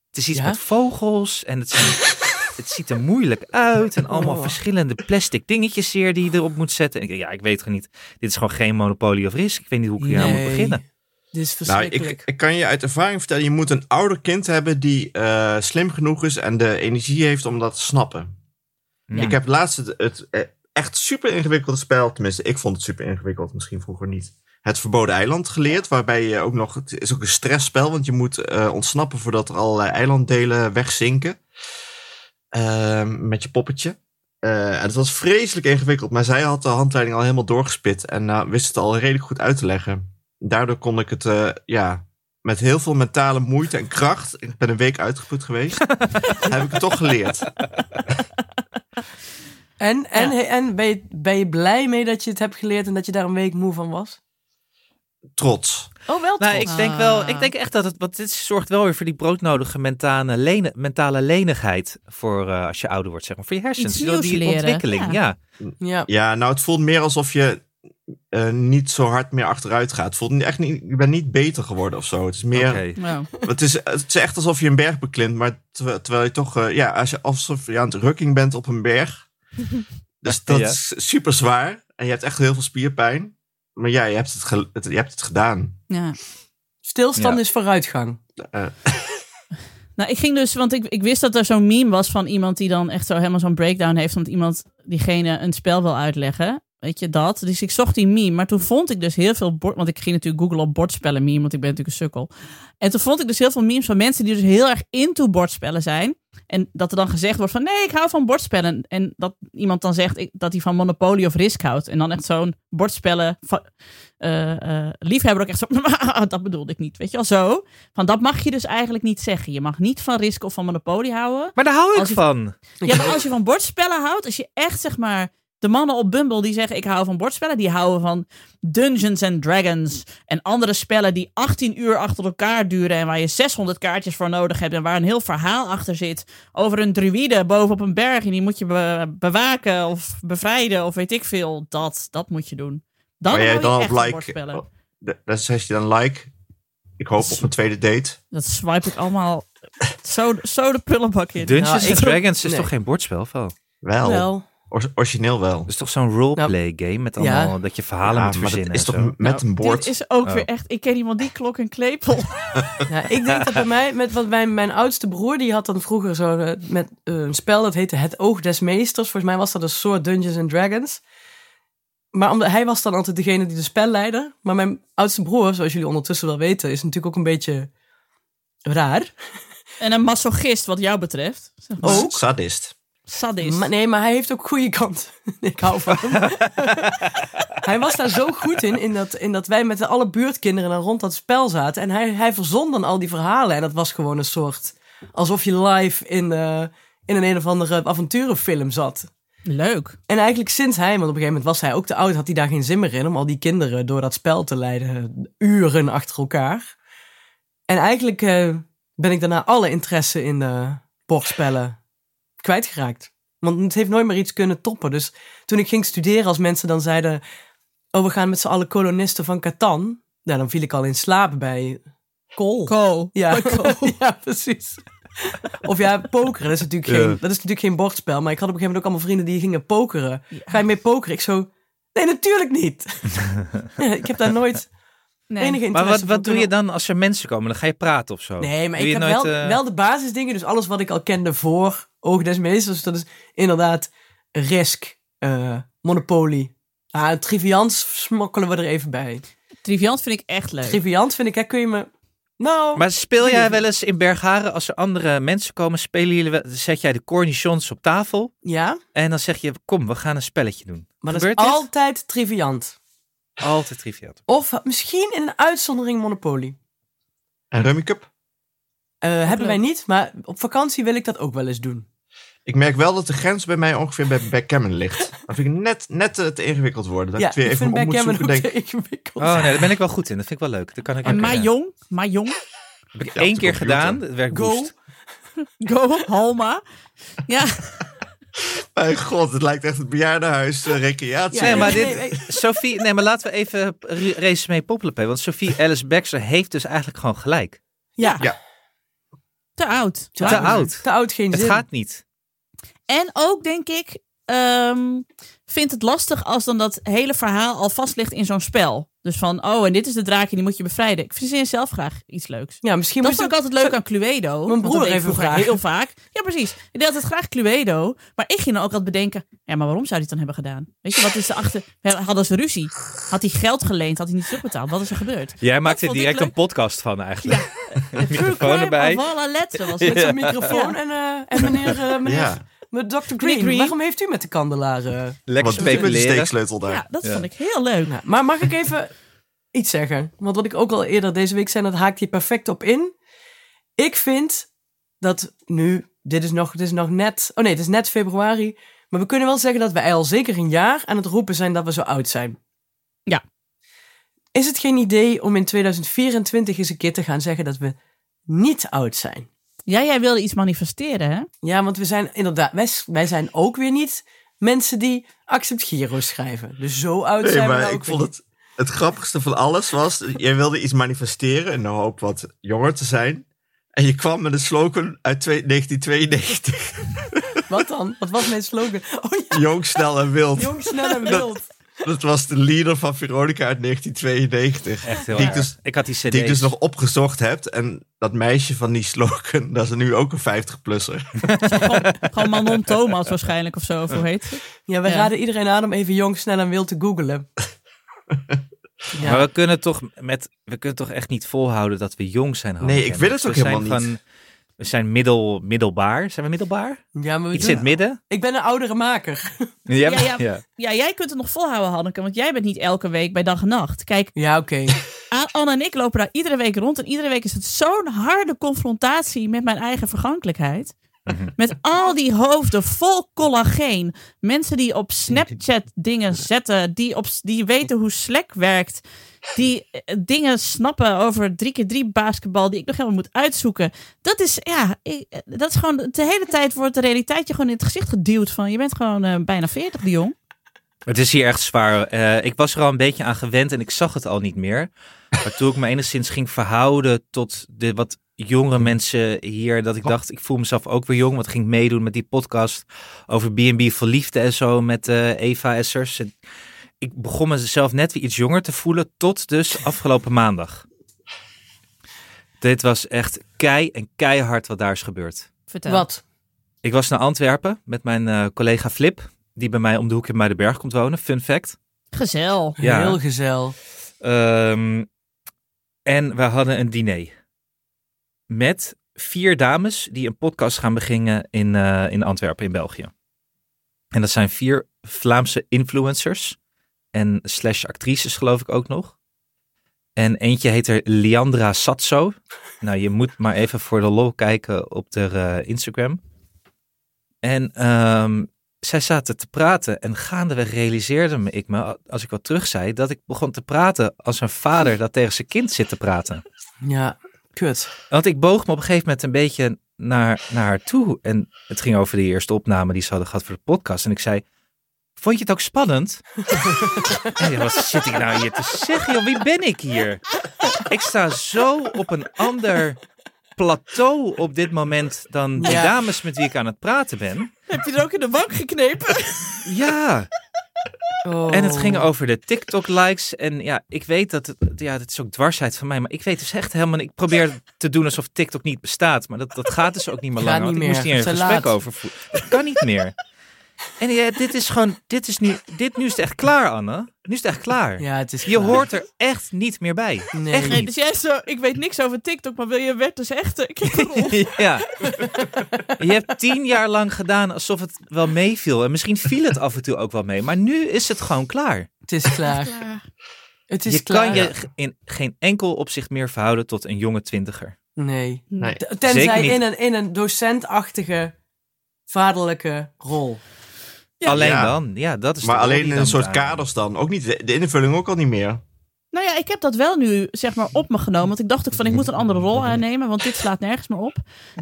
Speaker 4: Het is iets
Speaker 2: Ja?
Speaker 4: met vogels en het, zijn- het ziet er moeilijk uit en allemaal
Speaker 2: Oh.
Speaker 4: verschillende plastic dingetjes hier die je erop moet zetten. En ik, denk, ja, ik weet gewoon niet. Dit is gewoon geen monopolie of risk. Ik weet niet hoe ik hier aan moet
Speaker 2: Nee.
Speaker 4: beginnen.
Speaker 2: Dit is
Speaker 1: Nou,
Speaker 2: verschrikkelijk.
Speaker 1: ik, ik kan je uit ervaring vertellen, je moet een ouder kind hebben die eh, slim genoeg is en de energie heeft om dat te snappen.
Speaker 4: Ja.
Speaker 1: Ik heb laatst het, het, eh, echt super ingewikkelde spel, tenminste ik vond het super ingewikkeld, misschien vroeger niet, het Verboden Eiland geleerd, waarbij je ook nog, het is ook een stressspel, want je moet eh, ontsnappen voordat er allerlei eilanddelen wegzinken Ehm, met je poppetje. Eh, en het was vreselijk ingewikkeld, maar zij had de handleiding al helemaal doorgespit en eh, wist het al redelijk goed uit te leggen. Daardoor kon ik het, eh, ja, met heel veel mentale moeite en kracht, ik ben een week uitgeput geweest, heb ik het toch geleerd.
Speaker 2: En, en,
Speaker 3: Ja.
Speaker 2: he- en ben, je, ben je blij mee dat je het hebt geleerd en dat je daar een week moe van was?
Speaker 1: Trots.
Speaker 2: Oh, wel
Speaker 4: Nou,
Speaker 2: trots.
Speaker 4: ik denk wel, ik
Speaker 3: Ah.
Speaker 4: denk echt dat het, want dit zorgt wel weer voor die broodnodige mentale, lene- mentale lenigheid voor eh, als je ouder wordt, zeg maar, voor je hersens.
Speaker 3: Iets
Speaker 4: Die- die
Speaker 3: nieuws leren,
Speaker 4: ontwikkeling,
Speaker 3: ja.
Speaker 4: ja.
Speaker 2: Ja.
Speaker 1: Ja, nou, het voelt meer alsof je eh, niet zo hard meer achteruit gaat. Het voelt niet- echt niet, je bent niet beter geworden of zo. Het is meer,
Speaker 4: Oké.
Speaker 3: Nou,
Speaker 1: het, is, het is echt alsof je een berg beklimt, maar terwijl, terwijl je toch, eh, ja, als je, alsof je aan het rukking bent op een berg. Dus dat
Speaker 4: Ja.
Speaker 1: is super zwaar en je hebt echt heel veel spierpijn. Maar ja, je hebt het, gel- het- je hebt het gedaan.
Speaker 3: ja.
Speaker 2: Stilstand
Speaker 4: Ja.
Speaker 2: is vooruitgang.
Speaker 3: Nou, ik ging dus, want ik, ik wist dat er zo'n meme was van iemand die dan echt zo helemaal zo'n breakdown heeft. Want iemand diegene een spel wil uitleggen. Weet je dat? Dus ik zocht die meme. Maar toen vond ik dus heel veel bord. Want ik ging natuurlijk googlen op bordspellen meme. Want ik ben natuurlijk een sukkel. En toen vond ik dus heel veel memes van mensen die dus heel erg into bordspellen zijn. En dat er dan gezegd wordt van nee, ik hou van bordspellen. En dat iemand dan zegt ik- dat hij van Monopoly of Risk houdt. En dan echt zo'n bordspellen va- eh, eh, liefhebber ook echt zo. "Ah, dat bedoelde ik niet. Weet je wel zo. Van dat mag je dus eigenlijk niet zeggen. Je mag niet van Risk of van Monopoly houden.
Speaker 4: Maar daar hou ik
Speaker 3: Als je-
Speaker 4: van.
Speaker 3: Ja, maar als je van bordspellen houdt, als je echt zeg maar de mannen op Bumble die zeggen ik hou van bordspellen, die houden van Dungeons and Dragons en andere spellen die 18 uur achter elkaar duren en waar je 600 kaartjes voor nodig hebt en waar een heel verhaal achter zit over een druïde bovenop een berg en die moet je be- bewaken of bevrijden of weet ik veel. Dat, dat moet je doen.
Speaker 1: maar
Speaker 3: Dan hou
Speaker 1: jij
Speaker 3: je
Speaker 1: dan
Speaker 3: echt
Speaker 1: op
Speaker 3: van
Speaker 1: like,
Speaker 3: bordspellen.
Speaker 1: oh, da- dan zeg je dan like. Ik hoop op een tweede date.
Speaker 3: Dat swipe ik allemaal zo, zo de prullenbak in.
Speaker 4: Dungeons
Speaker 2: Nou, ik-
Speaker 4: and Dragons is
Speaker 2: Nee.
Speaker 4: toch geen bordspel, of wel? Dat
Speaker 1: Wel,
Speaker 2: Wel.
Speaker 1: Or- origineel wel.
Speaker 4: is toch zo'n roleplay game met
Speaker 2: Nou, ja.
Speaker 4: allemaal dat je verhalen
Speaker 1: Ja,
Speaker 4: Dus moet
Speaker 1: maar dat
Speaker 4: verzinnen.
Speaker 1: is
Speaker 4: en
Speaker 1: toch
Speaker 4: zo.
Speaker 1: m- met een
Speaker 3: Dit
Speaker 1: bord.
Speaker 3: is ook
Speaker 4: Oh.
Speaker 3: weer echt. Ik ken iemand die klok en klepel.
Speaker 2: Ja, ik denk dat bij mij, met wat mijn, mijn oudste broer, die had dan vroeger zo eh, met, eh, een spel dat heette Het Oog des Meesters. Volgens mij was dat een soort Dungeons and Dragons. Maar omdat, hij was dan altijd degene die de spelleider. Maar mijn oudste broer, zoals jullie ondertussen wel weten, is natuurlijk ook een beetje raar.
Speaker 3: En een masochist, wat jou betreft. Zeg maar.
Speaker 2: Oh.
Speaker 1: ook. Sadist.
Speaker 3: Sadist.
Speaker 2: Maar, nee, maar hij heeft ook goede kant. Ik hou van hem. hij was daar zo goed in, in dat, in dat wij met alle buurtkinderen dan rond dat spel zaten. En hij, hij verzon dan al die verhalen. En dat was gewoon een soort alsof je live in, eh, in een een of andere avonturenfilm zat.
Speaker 3: Leuk.
Speaker 2: En eigenlijk sinds hij, want op een gegeven moment was hij ook te oud, had hij daar geen zin meer in om al die kinderen door dat spel te leiden, eh, uren achter elkaar. En eigenlijk eh, ben ik daarna alle interesse in de bordspellen kwijtgeraakt. Want het heeft nooit meer iets kunnen toppen. Dus toen ik ging studeren, als mensen dan zeiden: Oh, we gaan met z'n allen kolonisten van Catan. Nou, dan viel ik al in slaap bij Kool.
Speaker 3: Cool.
Speaker 2: Ja, ja precies. Of ja, pokeren, dat is, natuurlijk geen, dat is natuurlijk geen bordspel. Maar ik had op een gegeven moment ook allemaal vrienden die gingen pokeren. Ga je mee pokeren? Ik zo, nee, natuurlijk niet. Ja, ik heb daar nooit
Speaker 3: Nee.
Speaker 2: enige interesse
Speaker 4: Maar wat, wat
Speaker 2: voor
Speaker 4: doe je
Speaker 2: kunnen-
Speaker 4: dan als er mensen komen? Dan ga je praten of zo?
Speaker 2: Nee, maar
Speaker 4: Doe
Speaker 2: ik
Speaker 4: je
Speaker 2: heb
Speaker 4: nooit,
Speaker 2: wel,
Speaker 4: eh,
Speaker 2: wel de basisdingen. Dus alles wat ik al kende voor Oog des Meesters. dus Dat is inderdaad Risk, eh, Monopoly. Ah, Trivians smokkelen we er even bij.
Speaker 3: Triviant vind ik echt leuk.
Speaker 2: Trivians vind ik, hè, kun je me... Nou,
Speaker 4: Maar speel jij wel eens in Bergharen, als er andere mensen komen, spelen jullie wel, zet jij de cornichons op tafel
Speaker 2: ja,
Speaker 4: en dan zeg je, kom, we gaan een spelletje doen.
Speaker 2: maar dat is
Speaker 4: Gebeurt dit?
Speaker 2: altijd triviant.
Speaker 4: Altijd triviaal.
Speaker 2: Of misschien in een uitzondering Monopoly.
Speaker 1: En Rummy Cup.
Speaker 2: Eh, hebben wij
Speaker 3: leuk.
Speaker 2: niet, maar op vakantie wil ik dat ook wel eens doen.
Speaker 1: Ik merk wel dat de grens bij mij ongeveer bij backgammon ligt. Dat vind ik net, net eh, te ingewikkeld worden. Dat ik het weer even op moet
Speaker 2: backgammon
Speaker 1: zoeken. Denk,
Speaker 2: te ingewikkeld.
Speaker 4: Oh nee, daar ben ik wel goed in. Dat vind ik wel leuk. Dat kan ik
Speaker 3: En
Speaker 4: ook,
Speaker 3: maar
Speaker 4: eh,
Speaker 3: jong, maar jong.
Speaker 4: heb ik
Speaker 1: Ja,
Speaker 4: één
Speaker 1: op de
Speaker 4: keer
Speaker 1: computer.
Speaker 4: gedaan. Het werkt
Speaker 2: Go.
Speaker 4: woest.
Speaker 3: Go, Halma. Ja,
Speaker 1: mijn god, het lijkt echt het bejaardenhuis eh, recreatie.
Speaker 2: Ja,
Speaker 4: Nee, maar
Speaker 2: nee,
Speaker 4: dit,
Speaker 2: nee, nee.
Speaker 4: Sophie, nee, maar laten we even re- race mee poppelen. Want Sophie Alice Baxter heeft dus eigenlijk gewoon gelijk.
Speaker 2: Ja.
Speaker 1: Ja.
Speaker 3: te oud.
Speaker 4: Te oud.
Speaker 2: Te oud, geen
Speaker 4: Het
Speaker 2: zin.
Speaker 4: gaat niet.
Speaker 3: En ook denk ik, ehm vindt het lastig als dan dat hele verhaal al vast ligt in zo'n spel. Dus van, oh, en dit is de draak en die moet je bevrijden. Ik verzin zelf graag iets leuks.
Speaker 2: Ja, misschien
Speaker 3: Dat
Speaker 2: moet je
Speaker 3: vond ik altijd leuk aan Cluedo. want dat
Speaker 2: broer
Speaker 3: deed ik
Speaker 2: even
Speaker 3: vroeger
Speaker 2: vragen.
Speaker 3: Heel vaak. Ja, precies. Ik deed altijd graag Cluedo. Maar ik ging dan ook altijd bedenken, ja, maar waarom zou hij het dan hebben gedaan? Weet je, wat is er achter? Hadden ze ruzie? Had hij geld geleend? Had hij niet terugbetaald? Wat is er gebeurd?
Speaker 4: Jij maakt er
Speaker 3: vond ik
Speaker 4: direct
Speaker 3: leuk.
Speaker 4: een podcast van eigenlijk. Ja.
Speaker 3: True
Speaker 4: Microfoon
Speaker 3: crime
Speaker 4: erbij.
Speaker 3: of all our letters, was
Speaker 2: Met
Speaker 3: het.
Speaker 2: zo'n microfoon en, eh, en meneer, eh meneer
Speaker 1: Ja.
Speaker 2: met Dr. Green.
Speaker 3: Green.
Speaker 2: Waarom heeft u met de kandelaar... eh?
Speaker 4: Lekker
Speaker 1: Wat doe je met die
Speaker 4: speculeren.
Speaker 1: steeksleutel daar?
Speaker 3: Ja, dat
Speaker 4: Ja.
Speaker 3: vond ik heel leuk.
Speaker 2: Nou, maar mag ik even iets zeggen? Want wat ik ook al eerder deze week zei, dat haakt hier perfect op in. Ik vind dat nu, dit is nog, dit is nog net, oh nee, het is net februari. Maar we kunnen wel zeggen dat wij al zeker een jaar aan het roepen zijn dat we zo oud zijn.
Speaker 3: Ja.
Speaker 2: Is het geen idee om in 2024 eens een keer te gaan zeggen dat we niet oud zijn?
Speaker 3: Ja, jij wilde iets manifesteren, hè?
Speaker 2: Ja, want we zijn inderdaad, wij, s- wij zijn ook weer niet mensen die accept Giro schrijven. Dus zo oud
Speaker 1: Nee,
Speaker 2: zijn we
Speaker 1: maar
Speaker 2: nou ook
Speaker 1: ik
Speaker 2: weer
Speaker 1: vond het, het grappigste van alles was... Jij wilde iets manifesteren in de hoop wat jonger te zijn. En je kwam met een slogan uit twee- 1992.
Speaker 2: niet. Wat dan? Wat was mijn slogan? Oh ja.
Speaker 1: Jong, snel en wild.
Speaker 2: Jong, snel en wild.
Speaker 1: Dat was de leader van Veronica uit 1992.
Speaker 4: Echt heel
Speaker 1: Die ik
Speaker 4: erg.
Speaker 1: dus-
Speaker 4: ik had die cd's.
Speaker 1: Die ik dus nog opgezocht heb. En dat meisje van die slogan, dat is nu ook een 50-plusser.
Speaker 3: gewoon, gewoon Manon Thomas waarschijnlijk of zo, of hoe heet ze?
Speaker 2: Ja, we
Speaker 3: Ja.
Speaker 2: raden iedereen aan om even jong, snel en wild te googlen. ja.
Speaker 4: Maar we kunnen, toch met, we kunnen toch echt niet volhouden dat we jong zijn. Hanne
Speaker 1: Nee, ik wil
Speaker 4: Hendricks.
Speaker 1: het ook
Speaker 4: We
Speaker 1: helemaal
Speaker 4: zijn
Speaker 1: niet.
Speaker 4: we zijn middel, middelbaar. Zijn we middelbaar?
Speaker 2: Ja, maar we
Speaker 4: Iets
Speaker 2: doen-
Speaker 4: in het midden?
Speaker 2: ik ben een oudere maker.
Speaker 4: Ja,
Speaker 3: ja. Ja, jij kunt het nog volhouden, Hanneke, want jij bent niet elke week bij dag en nacht. Kijk,
Speaker 2: Ja, oké.
Speaker 3: A- Anne en ik lopen daar iedere week rond en iedere week is het zo'n harde confrontatie met mijn eigen vergankelijkheid. Met al die hoofden vol collageen. Mensen die op Snapchat dingen zetten. Die, op, die weten hoe Slack werkt. Die eh, dingen snappen over 3x3 basketbal. Die ik nog helemaal moet uitzoeken. Dat is, ja, ik- eh, dat is gewoon. De hele tijd wordt de realiteit je gewoon in het gezicht geduwd. Van je bent gewoon eh, bijna 40, de jong.
Speaker 4: Het is hier echt zwaar. Eh, ik was er al een beetje aan gewend en ik zag het al niet meer. Maar toen ik me enigszins ging verhouden tot de wat jongere mensen hier, dat ik dacht, ik voel mezelf ook weer jong. Want ik ging meedoen met die podcast over B&B voor liefde en zo met eh, Eva Essers. En ik begon mezelf net weer iets jonger te voelen tot dus afgelopen maandag. Dit was echt kei en keihard wat daar is gebeurd.
Speaker 3: Vertel.
Speaker 2: Wat?
Speaker 4: Ik was naar Antwerpen met mijn eh, collega Flip, die bij mij om de hoek in Muidenberg komt wonen. Fun fact.
Speaker 3: Gezel.
Speaker 4: Ja.
Speaker 2: Heel gezel.
Speaker 4: Ehm, en we hadden een diner met vier dames die een podcast gaan beginnen in, eh, in Antwerpen in België. En dat zijn vier Vlaamse influencers en slash actrices geloof ik ook nog. En eentje heet er Liandra Satso. Nou, je moet maar even voor de lol kijken op haar eh, Instagram. En ehm, zij zaten te praten en gaandeweg realiseerde me ik me, als ik wat terug zei, dat ik begon te praten als een vader dat tegen zijn kind zit te praten.
Speaker 2: Ja, kut.
Speaker 4: Want ik boog me op een gegeven moment een beetje naar, naar haar toe. En het ging over de eerste opname die ze hadden gehad voor de podcast. En ik zei, vond je het ook spannend? en ja, wat zit ik nou hier te zeggen? Joh, wie ben ik hier? Ik sta zo op een ander plateau op dit moment dan de
Speaker 2: Ja.
Speaker 4: dames met wie ik aan het praten ben.
Speaker 3: Heb je er ook in de wang geknepen?
Speaker 4: Ja,
Speaker 2: Oh.
Speaker 4: en het ging over de TikTok-likes. En ja, ik weet dat het, ja, dat is ook dwarsheid van mij. Maar ik weet dus echt helemaal. Ik probeer te doen alsof TikTok niet bestaat. Maar dat, dat gaat dus ook niet meer
Speaker 2: Gaat
Speaker 4: langer.
Speaker 2: niet
Speaker 4: want ik
Speaker 2: meer.
Speaker 4: moest hier een
Speaker 2: Te
Speaker 4: gesprek
Speaker 2: laat.
Speaker 4: over voeren. Dat kan niet meer. En ja, dit is gewoon. Dit is nu. Dit nu is het echt klaar, Anne. Nu is het echt klaar.
Speaker 2: Ja, het is
Speaker 4: Je
Speaker 2: klaar.
Speaker 4: hoort er echt niet meer bij.
Speaker 2: Nee.
Speaker 4: Echt
Speaker 3: Nee,
Speaker 4: niet.
Speaker 3: dus jij zo, ik weet niks over TikTok, maar wil je werd dus echter? Ik heb een rol.
Speaker 4: Ja. Je hebt tien jaar lang gedaan alsof het wel meeviel. En misschien viel het af en toe ook wel mee. Maar nu is het gewoon klaar.
Speaker 2: Het is klaar. Het is
Speaker 4: je
Speaker 2: klaar.
Speaker 4: kan je g- in geen enkel opzicht meer verhouden tot een jonge twintiger.
Speaker 2: Nee.
Speaker 1: Nee.
Speaker 2: T-
Speaker 4: Zeker
Speaker 2: Tenzij
Speaker 4: niet.
Speaker 2: in een, in een docentachtige vaderlijke rol.
Speaker 3: Ja.
Speaker 4: alleen
Speaker 1: Ja.
Speaker 4: dan, ja, dat is
Speaker 1: Maar
Speaker 4: de
Speaker 1: alleen
Speaker 4: rol
Speaker 1: in
Speaker 4: die
Speaker 1: een
Speaker 4: dan
Speaker 1: soort
Speaker 4: betaalt.
Speaker 1: kaders dan. Ook niet, de de invulling ook al niet meer.
Speaker 3: Nou ja, ik heb dat wel nu zeg maar op me genomen. Want ik dacht ook van ik moet een andere rol aannemen, want dit slaat nergens meer op.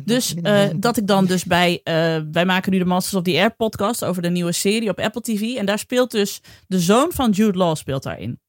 Speaker 3: Dus eh, dat ik dan dus bij, eh, wij maken nu de Masters of the Air podcast over de nieuwe serie op Apple TV. En daar speelt dus de zoon van Jude Law speelt daarin.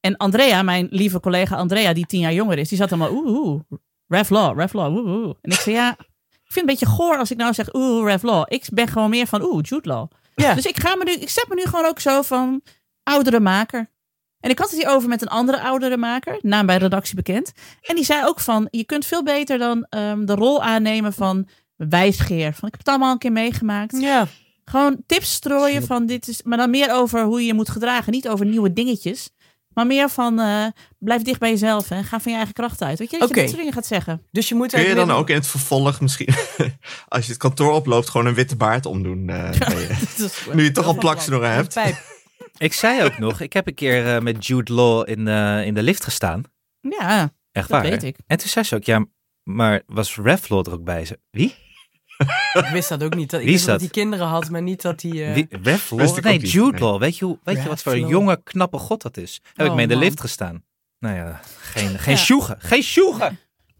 Speaker 3: En Andrea, mijn lieve collega Andrea, die tien jaar jonger is, die zat allemaal oeh, oeh, Rev Law, Rev Law, oeh, oeh. En ik zei ja, ik vind het een beetje goor als ik nou zeg oeh, Rev Law. Ik ben gewoon meer van oeh, Jude Law.
Speaker 2: Ja.
Speaker 3: Dus ik, ga me nu, ik zet me nu gewoon ook zo van oudere maker. En ik had het hier over met een andere oudere maker, naam bij redactie bekend. En die zei ook van, je kunt veel beter dan ehm, de rol aannemen van wijsgeer. Van, ik heb het allemaal een keer meegemaakt.
Speaker 2: Ja.
Speaker 3: Gewoon tips strooien van dit is, maar dan meer over hoe je je moet gedragen. Niet over nieuwe dingetjes, maar meer van eh, blijf dicht bij jezelf en ga van je eigen kracht uit. Weet je, dat
Speaker 2: Oké.
Speaker 3: je dat soort dingen gaat zeggen.
Speaker 2: Dus je moet
Speaker 1: Kun je
Speaker 2: eigenlijk
Speaker 1: dan ook in het vervolg misschien, als je het kantoor oploopt, gewoon een witte baard omdoen? eh, bij je?
Speaker 3: Dat is-
Speaker 1: nu je toch al
Speaker 3: van plan.
Speaker 1: plaksnoren
Speaker 2: met- met
Speaker 1: hebt.
Speaker 2: pijp.
Speaker 4: Ik zei ook nog, ik heb een keer eh, met Jude Law in, eh, in de lift gestaan.
Speaker 3: Ja,
Speaker 4: Echt
Speaker 3: Dat
Speaker 4: waar.
Speaker 3: weet ik.
Speaker 4: En toen zei ze ook, ja, maar was Rev Law er ook bij? Ze, wie?
Speaker 2: Ik wist dat ook niet. Dat, ik
Speaker 4: Wie
Speaker 2: wist
Speaker 4: is
Speaker 2: dat
Speaker 4: dat?
Speaker 2: hij kinderen had, maar niet dat hij... eh,
Speaker 4: wie Rev
Speaker 1: Wist
Speaker 4: Law?
Speaker 1: ik
Speaker 4: Nee,
Speaker 1: ook niet.
Speaker 4: Jude
Speaker 1: Nee.
Speaker 4: Law. Weet je, hoe- weet je
Speaker 2: Rev
Speaker 4: wat voor een
Speaker 2: Law.
Speaker 4: jonge, knappe god dat is?
Speaker 2: Oh,
Speaker 4: Heb ik mee in de
Speaker 2: man.
Speaker 4: lift gestaan. Nou ja, geen, geen
Speaker 3: Ja.
Speaker 4: sjoegen. Geen sjoegen!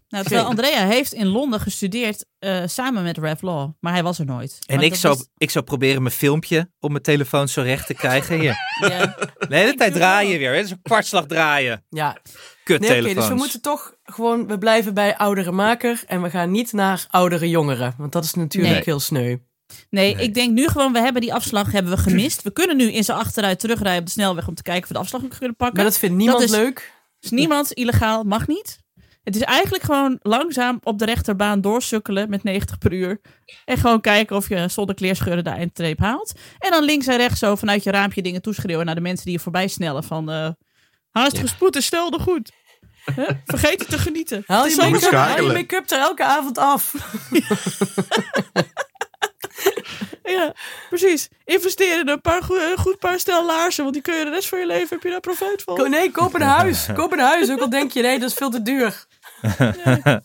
Speaker 3: Nou, terwijl Andrea heeft in Londen gestudeerd eh, samen met Rev Law, maar hij was er nooit.
Speaker 4: En
Speaker 3: Maar
Speaker 4: ik
Speaker 3: dat
Speaker 4: zou,
Speaker 3: was-
Speaker 4: ik zou proberen mijn filmpje op mijn telefoon zo recht te krijgen. Hier.
Speaker 3: ja.
Speaker 4: De hele tijd
Speaker 3: doe
Speaker 4: draaien
Speaker 3: wel.
Speaker 4: weer. Het is een kwartslag draaien.
Speaker 2: ja.
Speaker 4: Kut
Speaker 2: Nee, oké, dus we
Speaker 4: telefoons.
Speaker 2: moeten toch gewoon... We blijven bij oudere maker en we gaan niet naar oudere jongeren. Want dat is natuurlijk
Speaker 4: Nee.
Speaker 2: heel sneu.
Speaker 3: Nee, ik denk nu gewoon, we hebben die afslag hebben we gemist. We kunnen nu in zijn achteruit terugrijden op de snelweg om te kijken of we de afslag nog kunnen pakken.
Speaker 2: Maar dat vindt niemand
Speaker 3: Dat is-
Speaker 2: leuk.
Speaker 3: is Dus niemand illegaal, mag niet. Het is eigenlijk gewoon langzaam op de rechterbaan doorsukkelen met 90 per uur. En gewoon kijken of je zonder kleerscheuren de eindtreep haalt. En dan links en rechts zo vanuit je raampje dingen toeschreeuwen naar de mensen die je voorbij snellen. Van eh haast gespoed en snel de goed. Hè? Vergeet het te genieten.
Speaker 2: Haal je,
Speaker 3: Het is zo-
Speaker 1: moet
Speaker 2: make-up, haal je
Speaker 1: schakelen.
Speaker 2: make-up er elke avond af.
Speaker 3: Ja, precies. Investeer in een paar goe- een goed paar stel laarzen. Want die kun je de rest van je leven, heb je daar profijt van.
Speaker 2: Ko- Nee, koop een huis. Koop een huis. Ook al denk je, nee, dat is veel te duur.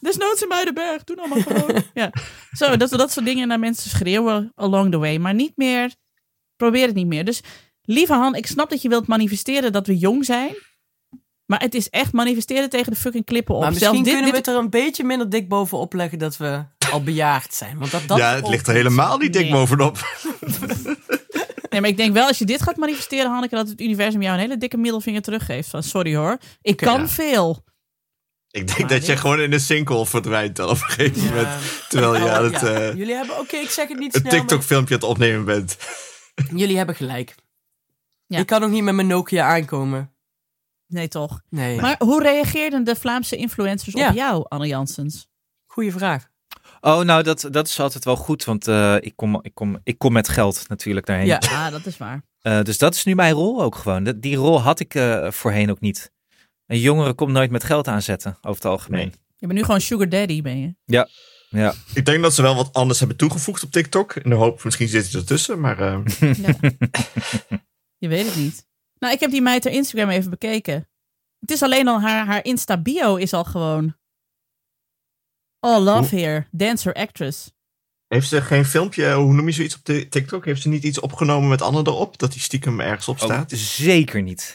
Speaker 3: Desnoods in Muidenberg, doe nou maar gewoon. ja. Zo, dat we dat soort dingen naar mensen schreeuwen along the way. Maar niet meer, probeer het niet meer. Dus lieve Han, ik snap dat je wilt manifesteren dat we jong zijn. Maar het is echt manifesteren tegen de fucking klippen op.
Speaker 2: Maar misschien
Speaker 3: Zelfs dit,
Speaker 2: kunnen
Speaker 3: dit-
Speaker 2: we het er een beetje minder dik bovenop leggen dat we al bejaard zijn. Want dat, dat
Speaker 1: ja, het ligt er helemaal niet dik
Speaker 3: Nee.
Speaker 1: bovenop.
Speaker 3: Nee, maar ik denk wel, als je dit gaat manifesteren, Hanneke, dat het universum jou een hele dikke middelvinger teruggeeft. Van, sorry hoor, ik
Speaker 2: Oké,
Speaker 3: kan
Speaker 1: ja.
Speaker 3: veel.
Speaker 1: Ik denk
Speaker 2: Maar
Speaker 1: dat je
Speaker 2: dit-
Speaker 1: gewoon in een sinkhole verdwijnt dan op een gegeven
Speaker 2: Ja.
Speaker 1: moment. Terwijl je
Speaker 2: Oh,
Speaker 1: aan het
Speaker 2: ja.
Speaker 1: eh,
Speaker 2: Jullie hebben, oké, ik zeg het niet
Speaker 1: een
Speaker 2: snel, maar
Speaker 1: TikTok-filmpje aan het opnemen bent.
Speaker 2: jullie hebben gelijk.
Speaker 3: Ja.
Speaker 2: Ik kan ook niet met mijn Nokia aankomen.
Speaker 3: Nee, toch.
Speaker 2: Nee,
Speaker 3: Maar hoe reageerden de Vlaamse influencers
Speaker 2: Ja.
Speaker 3: op jou, Anne Janssens?
Speaker 2: goede vraag.
Speaker 4: Oh, nou, dat, dat is altijd wel goed, want eh, ik, kom, ik, kom, ik kom met geld natuurlijk daarheen.
Speaker 2: Ja.
Speaker 3: Ah, dat is waar.
Speaker 4: Eh, dus dat is nu mijn rol ook gewoon. Dat- die rol had ik eh, voorheen ook niet. Een jongere komt nooit met geld aanzetten, over het algemeen.
Speaker 3: Je bent nu gewoon sugar daddy, ben je.
Speaker 4: Ja.
Speaker 1: Ik denk dat ze wel wat anders hebben toegevoegd op TikTok. In de hoop, misschien zit het ertussen, maar... eh,
Speaker 3: Je weet het niet. Nou, ik heb die meid haar Instagram even bekeken. Het is alleen al haar, haar Insta-bio is al gewoon... All love here. Dancer, actress.
Speaker 1: Heeft ze geen filmpje, eh, hoe noem je zoiets op de TikTok? Heeft ze niet iets opgenomen met Anne erop? Dat die stiekem ergens op
Speaker 4: Oh,
Speaker 1: staat?
Speaker 4: zeker niet.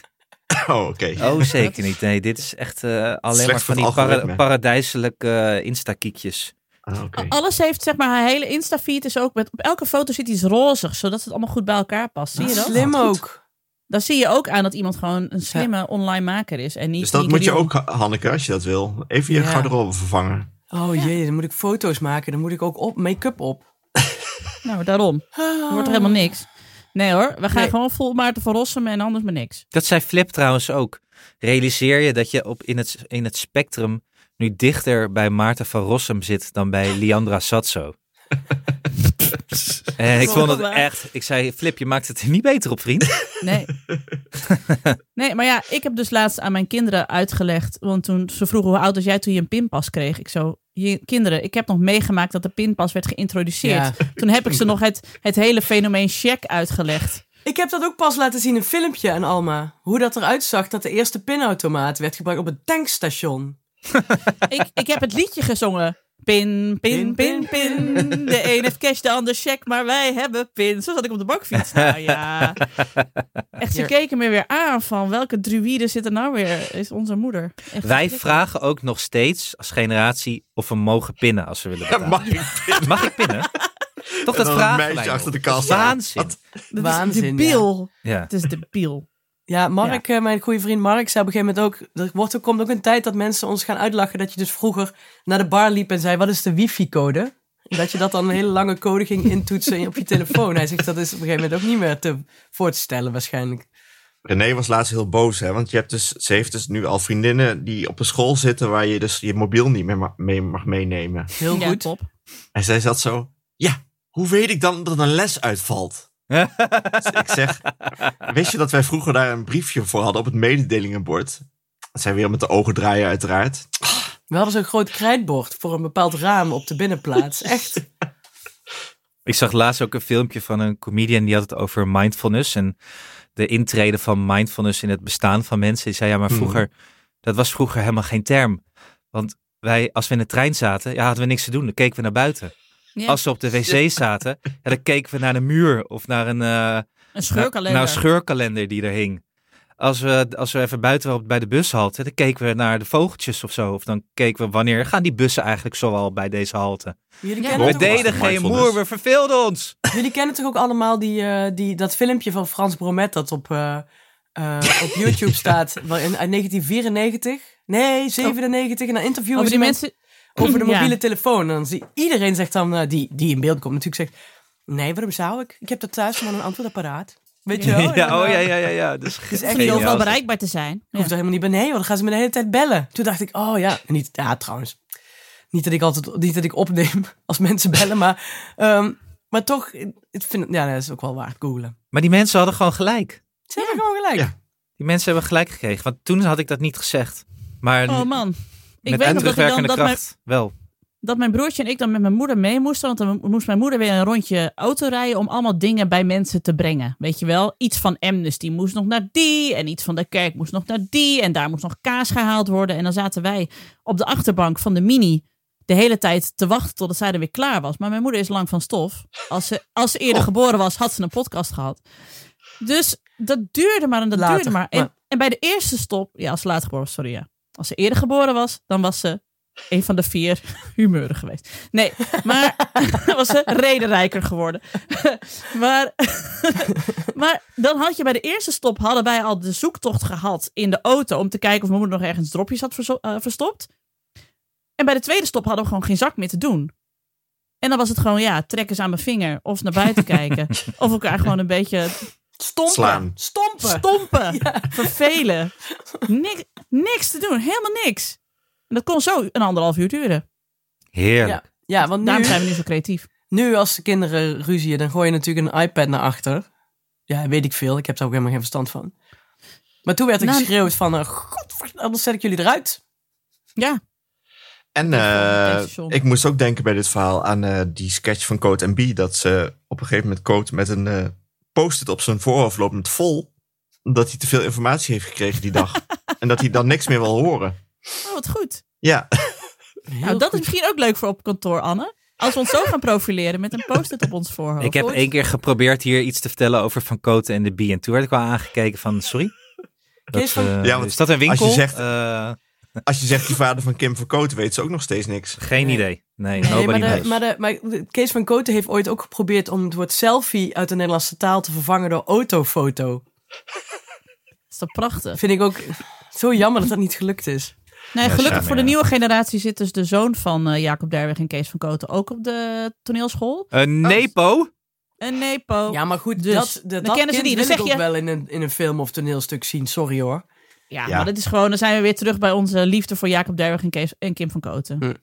Speaker 1: Oh, oké.
Speaker 4: Oh, zeker niet. Nee, dit is echt eh, alleen
Speaker 1: Slecht
Speaker 4: maar
Speaker 1: voor het
Speaker 4: van die para-
Speaker 1: algoritme.
Speaker 4: paradijselijke eh, Insta-kiekjes.
Speaker 1: Ah, oké.
Speaker 2: Oh,
Speaker 3: Alles heeft, zeg maar, haar hele Insta-feed is ook... Met, op elke foto zit iets rozig, zodat het allemaal goed bij elkaar past. Zie je dat?
Speaker 2: Slim ook.
Speaker 3: Dan zie je ook aan dat iemand gewoon een slimme online maker is. En niet
Speaker 1: Dus dat
Speaker 3: Nieke
Speaker 1: moet je
Speaker 3: Dion.
Speaker 1: ook, Hanneke, als je dat wil. Even je
Speaker 2: Ja.
Speaker 1: garderobe vervangen.
Speaker 2: Oh jee, dan moet ik foto's maken. Dan moet ik ook op, make-up op.
Speaker 3: Nou, daarom. Er wordt er helemaal niks. Nee hoor, we gaan
Speaker 2: Nee.
Speaker 3: gewoon vol Maarten van Rossum en anders maar niks.
Speaker 4: Dat zei Flip trouwens ook. Realiseer je dat je op in, het, in het spectrum nu dichter bij Maarten van Rossum zit dan bij Liandra Satso? en Eh, ik vond het echt. Ik zei: Flip, je maakt het er niet beter op, vriend.
Speaker 3: Nee. nee, maar ja, ik heb dus laatst aan mijn kinderen uitgelegd. Want toen ze vroegen hoe oud was jij toen je een pinpas kreeg. Ik zo, je, kinderen, ik heb nog meegemaakt dat de pinpas werd geïntroduceerd. Toen heb ik ze nog het, het hele fenomeen check uitgelegd.
Speaker 2: Ik heb dat ook pas laten zien in een filmpje aan Alma. Hoe dat eruit zag dat de eerste pinautomaat werd gebruikt op een tankstation.
Speaker 3: ik, ik heb het liedje gezongen. Pin, pin, pin, pin. De een heeft cash, de ander check, maar wij hebben pin. Zo zat ik op de bakfiets. Nou ja. Echt, ze
Speaker 2: Hier.
Speaker 3: keken me weer aan van welke druïde zit er nou weer? Is onze moeder. Echt
Speaker 4: Wij
Speaker 3: verschrikkelijk.
Speaker 4: vragen ook nog steeds als generatie of we mogen pinnen als we willen.
Speaker 1: Ja,
Speaker 4: Betalen.
Speaker 1: mag ik
Speaker 4: Mag ik pinnen? Toch
Speaker 1: En
Speaker 4: dat
Speaker 1: dan een
Speaker 4: vragen
Speaker 1: meisje
Speaker 4: wij
Speaker 1: achter
Speaker 4: nog.
Speaker 1: de kassa.
Speaker 4: Waanzin.
Speaker 1: Wat?
Speaker 3: Dat
Speaker 2: Waanzin,
Speaker 3: is debiel.
Speaker 4: Ja.
Speaker 3: Het is debiel.
Speaker 2: Ja, Mark, eh, mijn goede vriend Mark, zei op een gegeven moment ook... Er wordt, er komt ook een tijd dat mensen ons gaan uitlachen... dat je dus vroeger naar de bar liep en zei... wat is de wifi-code? En Dat je dat dan een hele lange code ging intoetsen op je telefoon. Hij zegt, dat is op een gegeven moment ook niet meer te, voor te stellen waarschijnlijk.
Speaker 1: René was laatst heel boos, hè? Want je hebt dus, ze heeft dus nu al vriendinnen die op een school zitten waar je dus je mobiel niet meer ma- mee mag meenemen.
Speaker 2: Heel
Speaker 3: Ja,
Speaker 2: goed.
Speaker 3: top.
Speaker 1: En zij zat zo, ja, hoe weet ik dan dat een les uitvalt? dus ik zeg, wist je dat wij vroeger daar een briefje voor hadden op het mededelingenbord? Dat zij weer met de ogen draaien uiteraard.
Speaker 2: We hadden zo'n groot krijtbord voor een bepaald raam op de binnenplaats. Echt.
Speaker 4: Ik zag laatst ook een filmpje van een comedian die had het over mindfulness en de intrede van mindfulness in het bestaan van mensen. Die zei ja, maar vroeger, dat was vroeger helemaal geen term. Want wij, als we in de trein zaten, ja, hadden we niks te doen. Dan keken we naar buiten.
Speaker 3: Ja.
Speaker 4: Als we op de wc zaten, ja, dan keken we naar de muur of naar een, eh,
Speaker 3: Een
Speaker 4: naar,
Speaker 3: schurk alleen.
Speaker 4: naar een scheurkalender die er hing. Als we, als we even buiten waren bij de bushalte, dan keken we naar de vogeltjes of zo. Of dan keken we wanneer gaan die bussen eigenlijk zoal bij deze halte.
Speaker 2: Jullie,
Speaker 3: Ja.
Speaker 2: kennen
Speaker 4: We
Speaker 2: toch,
Speaker 4: deden geen
Speaker 1: mindfulness.
Speaker 4: moer, we verveelden ons.
Speaker 2: jullie kennen toch ook allemaal die, eh, die, dat filmpje van Frans Bromet... dat op, eh, eh, op YouTube staat wel in, uit 1994? Nee, 97. En dan interviewen
Speaker 3: Oh. Over
Speaker 2: ze
Speaker 3: die
Speaker 2: mensen...
Speaker 3: mensen.
Speaker 2: over de
Speaker 3: Ja.
Speaker 2: mobiele telefoon. En dan zie, iedereen zegt dan, eh, die, die in beeld komt natuurlijk, zegt... Nee, waarom zou ik? Ik heb dat thuis van een antwoordapparaat. Weet je wel? En dan,
Speaker 4: Ja, oh
Speaker 2: eh,
Speaker 4: ja, ja, ja. ja. Dat is
Speaker 2: Het is
Speaker 3: Ze
Speaker 2: echt
Speaker 3: niet
Speaker 2: heel
Speaker 3: overal
Speaker 4: geniaal.
Speaker 3: bereikbaar te zijn.
Speaker 2: Ik hoef
Speaker 3: Ja.
Speaker 2: er helemaal niet bij. Nee, want dan gaan ze me de hele tijd bellen. Toen dacht ik, oh ja. En Niet, ja, trouwens. Niet dat ik altijd niet dat ik opneem als mensen bellen, maar, ehm, maar toch, ik vind, het- ja, nee, dat is ook wel waard googelen.
Speaker 4: Maar die mensen hadden gewoon gelijk.
Speaker 2: Ze hebben gewoon gelijk.
Speaker 1: Ja.
Speaker 4: Die mensen hebben gelijk gekregen. Want toen had ik dat niet gezegd. Maar
Speaker 3: Oh man. Ik weet nog
Speaker 4: met
Speaker 3: dat ik dan
Speaker 4: terugwerkende
Speaker 3: dat mijn,
Speaker 4: kracht wel.
Speaker 3: dat mijn broertje en ik dan met mijn moeder mee moesten. Want dan moest mijn moeder weer een rondje auto rijden om allemaal dingen bij mensen te brengen. Weet je wel, iets van Amnesty moest nog naar die en iets van de kerk moest nog naar die. En daar moest nog kaas gehaald worden. En dan zaten wij op de achterbank van de mini de hele tijd te wachten totdat zij er weer klaar was. Maar mijn moeder is lang van stof. Als ze, als ze eerder geboren was, had ze een podcast gehad. Dus dat duurde maar en dat
Speaker 2: Later,
Speaker 3: duurde maar. En,
Speaker 2: maar-
Speaker 3: en bij de eerste stop, ja, als ze later geboren was, sorry ja. Als ze eerder geboren was, dan was ze een van de vier humeuren geweest. Nee, maar dan was ze redenrijker geworden. maar, maar dan had je bij de eerste stop, hadden wij al de zoektocht gehad in de auto om te kijken of mijn moeder nog ergens dropjes had verzo- eh, verstopt. En bij de tweede stop hadden we gewoon geen zak meer te doen. En dan was het gewoon, ja, trek eens aan mijn vinger. Of naar buiten kijken. Of elkaar gewoon een beetje
Speaker 2: Stompen.
Speaker 1: Slaan.
Speaker 2: Stompen.
Speaker 3: stompen. Vervelen. Niks, niks te doen. Helemaal niks. En dat kon zo een anderhalf uur duren.
Speaker 4: Heerlijk.
Speaker 2: Ja. ja, want
Speaker 3: Daarom
Speaker 2: nu,
Speaker 3: zijn we nu zo creatief.
Speaker 2: nu als de kinderen ruzieën, dan gooi je natuurlijk een iPad naar achter. Ja, weet ik veel. Ik heb daar ook helemaal geen verstand van. Maar toen werd ik
Speaker 3: Nou,
Speaker 2: geschreeuwd van, eh, "Godverd- anders zet ik jullie eruit.
Speaker 3: Ja.
Speaker 1: En
Speaker 3: Dat is wel een
Speaker 1: eh,
Speaker 3: tankstation.
Speaker 1: ik moest ook denken bij dit verhaal aan eh, die sketch van Code B Dat ze op een gegeven moment Code met een eh, post-it op zijn voorhoofd loopt met vol. Omdat hij te veel informatie heeft gekregen die dag. En dat hij dan niks meer wil horen.
Speaker 3: Oh, wat goed.
Speaker 1: Ja,
Speaker 3: Nou, dat is misschien ook leuk voor op kantoor, Anne. Als we ons zo gaan profileren met een post-it op ons voorhoofd.
Speaker 4: Ik heb één keer geprobeerd hier iets te vertellen over Van Koten en de B. En toen werd ik wel aangekeken van, sorry? Dat,
Speaker 2: Kees van-
Speaker 4: eh,
Speaker 1: Ja, want
Speaker 4: is dat een
Speaker 1: als je
Speaker 4: winkel?
Speaker 1: zegt-
Speaker 4: Eh,
Speaker 1: als je zegt die vader van Kim Verkoten weet ze ook nog steeds niks.
Speaker 4: geen idee. Nee,
Speaker 2: Nee,
Speaker 4: nobody
Speaker 2: maar, de,
Speaker 4: knows.
Speaker 2: maar, de, maar de- Kees van Koten heeft ooit ook geprobeerd om het woord selfie uit de Nederlandse taal te vervangen door autofoto.
Speaker 3: Is dat prachtig?
Speaker 2: Vind ik ook zo jammer dat dat niet gelukt is.
Speaker 3: Nee, gelukkig
Speaker 4: ja,
Speaker 3: voor de
Speaker 4: ja.
Speaker 3: nieuwe generatie zit dus de zoon van eh, Jacob Derwig en Kees van Koten ook op de toneelschool.
Speaker 4: Een Eh, nepo?
Speaker 3: Een nepo.
Speaker 2: Ja, maar goed,
Speaker 3: Dus,
Speaker 2: dat,
Speaker 3: dan
Speaker 2: dat, dat
Speaker 3: kennen ze
Speaker 2: kind
Speaker 3: die. Dan
Speaker 2: wil ik
Speaker 3: zeg
Speaker 2: ook
Speaker 3: je-
Speaker 2: wel in een, in een film of toneelstuk zien, sorry hoor.
Speaker 3: Ja,
Speaker 1: Ja.
Speaker 3: maar dat is gewoon, dan zijn we weer terug bij onze liefde voor Jacob Derwig en, Kees, en Kim van Koten.
Speaker 2: Hm.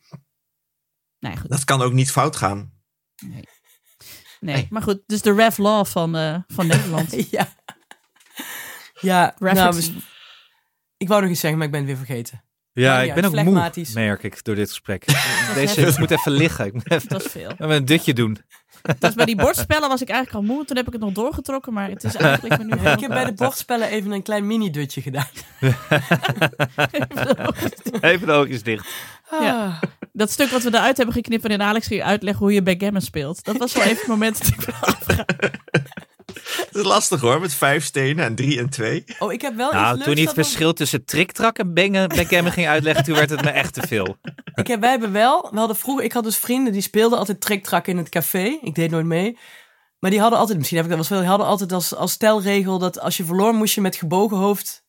Speaker 3: Nee, goed.
Speaker 1: Dat kan ook niet fout gaan.
Speaker 3: Nee. Maar goed, dus de Rev Law van, eh, van Nederland.
Speaker 2: Ja. Ja, nou,
Speaker 3: Referentie.
Speaker 2: we- ik wou nog iets zeggen, maar ik ben het weer vergeten.
Speaker 4: Ja,
Speaker 2: Maakt
Speaker 4: ik
Speaker 2: niet
Speaker 4: ben ook
Speaker 2: uit,
Speaker 4: moe,
Speaker 2: flegmatisch.
Speaker 4: merk ik, door dit gesprek.
Speaker 3: net
Speaker 4: Deze, ik moet even liggen. Ik moet even,
Speaker 3: Dat is veel.
Speaker 4: even een dutje doen.
Speaker 3: Dat is Dus bij die bordspellen was ik eigenlijk al moe. Toen heb ik het nog doorgetrokken, maar het is eigenlijk me nu
Speaker 2: Ik heb bij de bordspellen even een klein mini-dutje gedaan.
Speaker 4: Even de oogjes dicht.
Speaker 3: Ja. Dat stuk wat we eruit hebben geknipt waarin Alex ging uitleggen hoe je backgammon speelt. Dat was wel even het moment dat ik
Speaker 1: Het is lastig hoor, met vijf stenen en drie en twee.
Speaker 2: Oh, ik heb wel iets
Speaker 4: Nou,
Speaker 2: leuks
Speaker 4: toen hij het
Speaker 2: dat nog-
Speaker 4: verschil tussen triktrak en bengen backgammon ging uitleggen, toen werd het me echt te veel. Oh,
Speaker 2: Ik heb, wij hebben wel, we hadden vroeger, ik had dus vrienden die speelden altijd triktrak in het café. Ik deed nooit mee. Maar die hadden altijd, misschien heb ik dat wel eens veel, die hadden altijd als, als stelregel dat als je verloor moest je met gebogen hoofd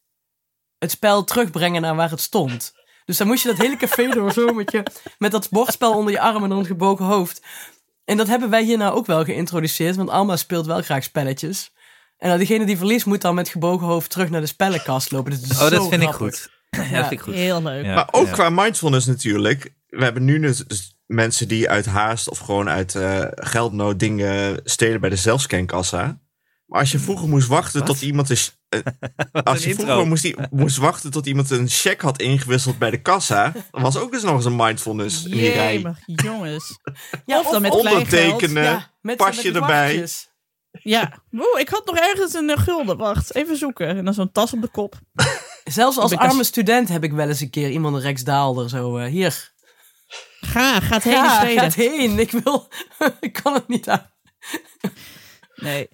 Speaker 2: het spel terugbrengen naar waar het stond. Dus dan moest je dat hele café door zo met, je, met dat bordspel onder je arm en dan het gebogen hoofd. En dat hebben wij hierna ook wel geïntroduceerd, want Alma speelt wel graag spelletjes. En nou, diegene die verliest moet dan met gebogen hoofd terug naar de spellenkast lopen. Dus Dat is
Speaker 4: Oh,
Speaker 2: zo
Speaker 4: dat vind ik
Speaker 2: grappig.
Speaker 4: goed. Ja, dat vind ik goed.
Speaker 3: heel leuk.
Speaker 4: Ja,
Speaker 1: maar ook
Speaker 4: ja.
Speaker 1: qua mindfulness natuurlijk. We hebben nu dus- dus mensen die uit haast of gewoon uit eh, geldnood dingen stelen bij de zelfscankassa. Maar als je vroeger moest wachten tot iemand een, ch- eh, als
Speaker 4: een
Speaker 1: je
Speaker 4: intro.
Speaker 1: vroeger moest, i- moest wachten tot iemand een cheque had ingewisseld bij de kassa, dan was ook dus nog eens een mindfulness in die rij.
Speaker 3: Jemig, jongens.
Speaker 2: Ja,
Speaker 3: of dan met kleingeld.
Speaker 1: Ondertekenen,
Speaker 2: ja, met,
Speaker 1: Eh, pasje
Speaker 2: met die
Speaker 1: erbij.
Speaker 2: vlaggetjes.
Speaker 3: Ja. Oeh, ik had nog ergens een eh, gulden. Wacht, even zoeken. En dan zo'n tas op de kop.
Speaker 2: Zelfs als
Speaker 3: Ik ben
Speaker 2: arme student heb ik wel eens een keer iemand een Rijksdaalder zo eh, hier.
Speaker 3: Ga, gaat heen
Speaker 2: Ja,
Speaker 3: steden.
Speaker 2: gaat heen. Ik wil, ik kan het niet aan.
Speaker 3: Nee.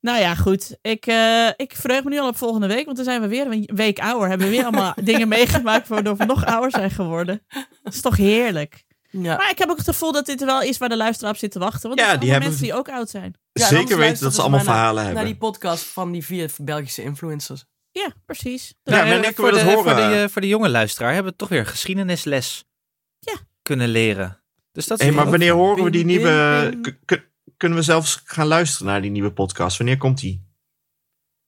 Speaker 3: Nou ja, goed. Ik, eh, ik verheug me nu al op volgende week, want dan zijn we weer een week ouder. Hebben we weer allemaal dingen meegemaakt waardoor we nog ouder zijn geworden. Dat is toch heerlijk.
Speaker 2: Ja.
Speaker 3: Maar ik heb ook het gevoel dat dit er wel is waar de luisteraar op zit te wachten. Want
Speaker 1: Ja,
Speaker 3: er zijn
Speaker 1: die
Speaker 3: allemaal
Speaker 1: hebben-
Speaker 3: mensen die ook oud zijn.
Speaker 2: Ja, en
Speaker 1: Zeker
Speaker 2: anders
Speaker 1: weten dat ze
Speaker 2: luisteren
Speaker 1: allemaal
Speaker 2: maar naar-
Speaker 1: verhalen
Speaker 2: Naar
Speaker 1: hebben.
Speaker 2: die podcast van die vier Belgische influencers.
Speaker 3: Ja, precies.
Speaker 1: Ja,
Speaker 4: Nee,
Speaker 1: maar
Speaker 4: maar
Speaker 1: ik
Speaker 4: Nou, voor,
Speaker 1: wil
Speaker 4: de,
Speaker 1: het
Speaker 4: voor, de,
Speaker 1: horen.
Speaker 4: eh, voor de jonge luisteraar hebben we toch weer een geschiedenisles
Speaker 3: Ja.
Speaker 4: kunnen leren. Dus dat is
Speaker 1: Hey, maar
Speaker 4: ook-
Speaker 1: wanneer horen we die
Speaker 2: Ping,
Speaker 1: nieuwe?
Speaker 2: ping, ping.
Speaker 1: k- kun- Kunnen we zelfs gaan luisteren naar die nieuwe podcast? Wanneer komt die?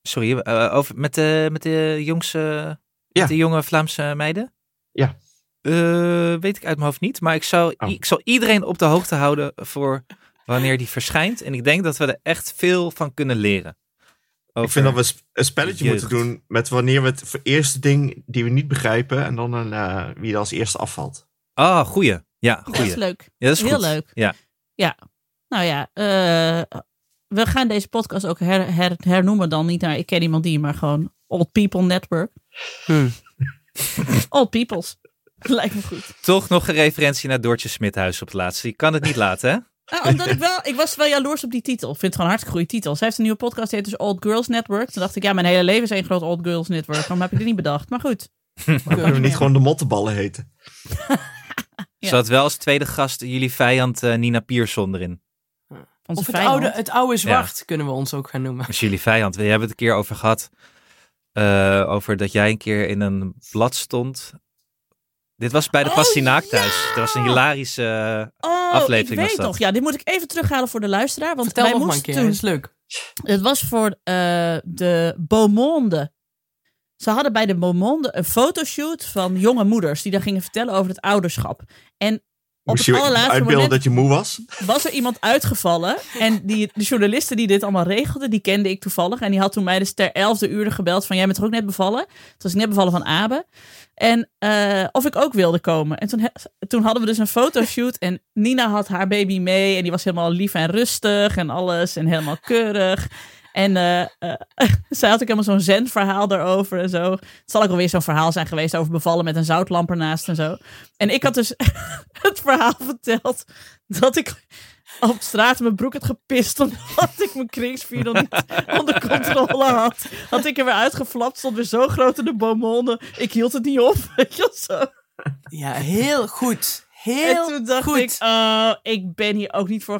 Speaker 4: Sorry, eh, over, met, de, met de jongste,
Speaker 1: Ja.
Speaker 4: met de jonge Vlaamse meiden?
Speaker 1: Ja.
Speaker 4: Eh, weet ik uit mijn hoofd niet, maar ik zal,
Speaker 1: Oh.
Speaker 4: ik zal iedereen op de hoogte houden voor wanneer die verschijnt. En ik denk dat we er echt veel van kunnen leren.
Speaker 1: Ik vind dat we sp- een spelletje
Speaker 4: jeugd.
Speaker 1: moeten doen met wanneer we het voor eerste ding die we niet begrijpen en dan een, eh, wie er als eerste afvalt.
Speaker 4: Ah, goeie. Ja, goeie.
Speaker 3: Dat is leuk.
Speaker 4: Ja, dat is
Speaker 3: Heel
Speaker 4: goed.
Speaker 3: leuk.
Speaker 4: Ja.
Speaker 3: Ja. Nou ja, eh, we gaan deze podcast ook her, her- hernoemen dan niet naar Ik Ken Iemand Die, maar gewoon Old People Network.
Speaker 2: Hmm.
Speaker 3: Old Peoples. Lijkt me goed.
Speaker 4: Toch nog een referentie naar Doortje Smithuis op het laatste. Je kan het niet laten, hè?
Speaker 3: Ah, omdat ik wel, ik was wel jaloers op die titel. Ik vind het gewoon een hartstikke goede titel. Ze heeft een nieuwe podcast, die heet dus Old Girls Network. Toen dacht ik, ja, mijn hele leven is één groot Old Girls Network. Waarom heb ik dit niet bedacht? Maar goed.
Speaker 1: Kunnen we niet gewoon de mottenballen heten?
Speaker 3: Ja.
Speaker 4: Zat wel als tweede gast jullie vijand eh, Nina Pierson erin.
Speaker 3: Onze
Speaker 2: Of het
Speaker 3: vijand.
Speaker 2: oude, het oude zwart kunnen we ons ook gaan noemen.
Speaker 4: Als jullie vijand. We hebben het een keer over gehad. eh, over dat jij een keer in een blad stond. Dit was bij de
Speaker 3: Oh,
Speaker 4: Pastinaak
Speaker 3: ja!
Speaker 4: thuis. Dat was een hilarische... eh,
Speaker 3: Oh,
Speaker 4: aflevering
Speaker 3: ik
Speaker 4: was
Speaker 3: weet
Speaker 4: dat.
Speaker 3: nog. Ja, dit moet ik even terughalen voor de luisteraar. Want
Speaker 2: Vertel
Speaker 3: wij
Speaker 2: nog maar een
Speaker 3: moesten
Speaker 2: keer,
Speaker 3: toen
Speaker 2: dat is leuk.
Speaker 3: Het was voor eh, de Beaumonde. Ze hadden bij de Beaumonde een fotoshoot van jonge moeders. die daar gingen vertellen over het ouderschap. En op
Speaker 1: Moest
Speaker 3: het
Speaker 1: je
Speaker 3: allerlaatste
Speaker 1: uitbeelden dat
Speaker 3: moment
Speaker 1: je moe was?
Speaker 3: was er iemand uitgevallen. En die, de journalisten die dit allemaal regelden, die kende ik toevallig. En die had toen mij dus ter elfde uur gebeld van... jij bent toch ook net bevallen? Toen was ik net bevallen van Abe. En eh, of ik ook wilde komen. En toen, he- toen hadden we dus een fotoshoot. En Nina had haar baby mee. En die was helemaal lief en rustig en alles. En helemaal keurig. En eh, eh, zij had ook helemaal zo'n zen-verhaal daarover en zo. Het zal ook alweer zo'n verhaal zijn geweest over bevallen met een zoutlamp ernaast en zo. En ik had dus het verhaal verteld dat ik op straat mijn broek had gepist omdat ik mijn kringspier nog niet onder controle had. Had ik er weer uitgeflapt, stond weer zo groot in de beaumonde. Ik hield het niet op, weet je wel zo.
Speaker 2: Ja, heel goed.
Speaker 3: En
Speaker 2: Heel
Speaker 3: toen dacht
Speaker 2: goed.
Speaker 3: ik, oh, ik ben hier ook niet voor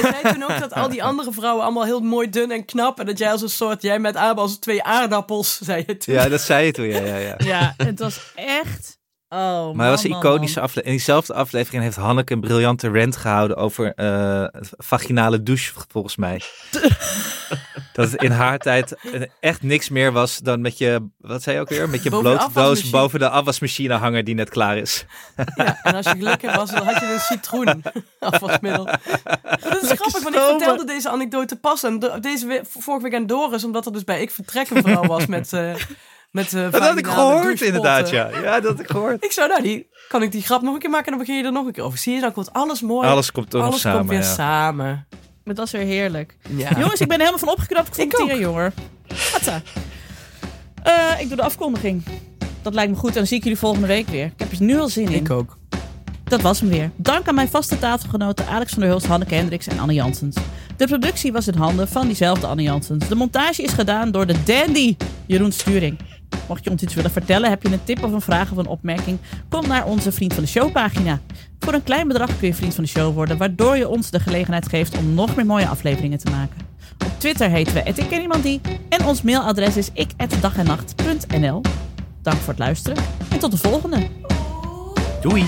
Speaker 2: Jij zei toen ook dat al die andere vrouwen allemaal heel mooi dun en knap. En dat jij als een soort, jij met Abel als twee aardappels, zei je toen.
Speaker 4: Ja, dat zei je toen. Ja, ja, ja.
Speaker 3: Ja, het was echt... Oh,
Speaker 4: Maar dat was een iconische aflevering. In diezelfde aflevering heeft Hanneke een briljante rant gehouden over eh, vaginale douche, volgens mij. dat het in haar tijd eh, echt niks meer was dan met je, wat zei je ook weer? Met je
Speaker 2: Boven de
Speaker 4: blote doos
Speaker 2: afwasmachine.
Speaker 4: boven de afwasmachine hanger die net klaar is.
Speaker 2: En als je gelukkig was, dan had je een citroen afwasmiddel. Maar Dat is grappig, want ik
Speaker 3: stomen.
Speaker 2: vertelde deze anekdote pas. En de- deze we- vorige week aan Doris, omdat er dus bij ik vertrek een vrouw was met... eh met eh,
Speaker 4: Dat had
Speaker 2: vaginale
Speaker 4: ik gehoord
Speaker 2: douchepotten.
Speaker 4: inderdaad, ja. Ja, dat had ik gehoord.
Speaker 2: Ik zou, nou, die, kan ik die grap nog een keer maken en dan begin je er nog een keer over. Zie je, dan komt alles mooi.
Speaker 4: Alles komt toch nog
Speaker 2: Alles
Speaker 4: samen,
Speaker 2: komt weer
Speaker 4: ja.
Speaker 2: samen.
Speaker 3: Maar dat is weer heerlijk.
Speaker 2: Ja.
Speaker 3: Jongens, ik ben er helemaal van opgeknapt.
Speaker 2: Ik
Speaker 3: Ik vond het
Speaker 2: ook.
Speaker 3: hier, jongen. Atta. Eh, ik doe de afkondiging. Dat lijkt me goed. En dan zie ik jullie volgende week weer. Ik heb er nu al zin in.
Speaker 2: ik ook.
Speaker 3: Dat was hem weer. Dank aan mijn vaste tafelgenoten Alex van der Hulst, Hanneke Hendricks en Anne Jansens. De productie was in handen van diezelfde Anne Jansens. De montage is gedaan door de dandy Jeroen Sturing. Mocht je ons iets willen vertellen, heb je een tip of een vraag of een opmerking, kom naar onze Vriend van de Show pagina. Voor een klein bedrag kun je Vriend van de Show worden, waardoor je ons de gelegenheid geeft om nog meer mooie afleveringen te maken. Op Twitter heten we ik en ons mailadres is ik@dagennacht.nl. Dank voor het luisteren en tot de volgende.
Speaker 4: Doei.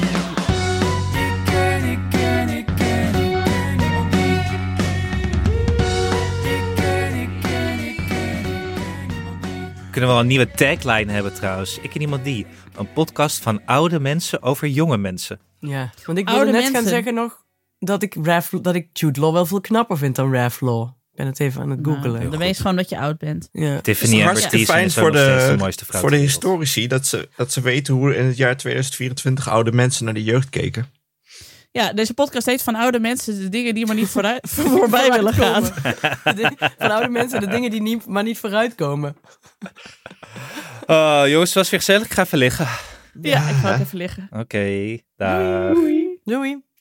Speaker 4: Kunnen we al een nieuwe tagline hebben trouwens. Ik en iemand die. Een podcast van oude mensen over jonge mensen.
Speaker 2: Ja, want ik wilde
Speaker 3: Oude
Speaker 2: net gaan
Speaker 3: mensen.
Speaker 2: zeggen nog dat ik, Raf, dat ik Jude Law wel veel knapper vind dan Raf Law. Ik ben het even aan het googelen.
Speaker 3: Nou, dan wees gewoon dat je oud bent.
Speaker 2: ja.
Speaker 4: Tiffany en
Speaker 1: hartstikke
Speaker 4: Bertice
Speaker 1: fijn
Speaker 4: is
Speaker 1: voor
Speaker 4: voor de,
Speaker 1: de,
Speaker 4: mooiste vrouw
Speaker 1: voor de
Speaker 4: ter wereld.
Speaker 1: historici dat ze, dat ze weten hoe in het jaar 2024 oude mensen naar de jeugd keken.
Speaker 3: Ja, deze podcast heet van oude mensen de dingen die maar niet vooruit, voorbij willen gaan.
Speaker 2: De ding- Van oude mensen, de dingen die niet, maar niet vooruitkomen.
Speaker 4: Oh, jongens, het was weer gezellig. Ik ga even liggen.
Speaker 3: Ja, ik ga ook even liggen.
Speaker 4: Oké, dag.
Speaker 2: Doei.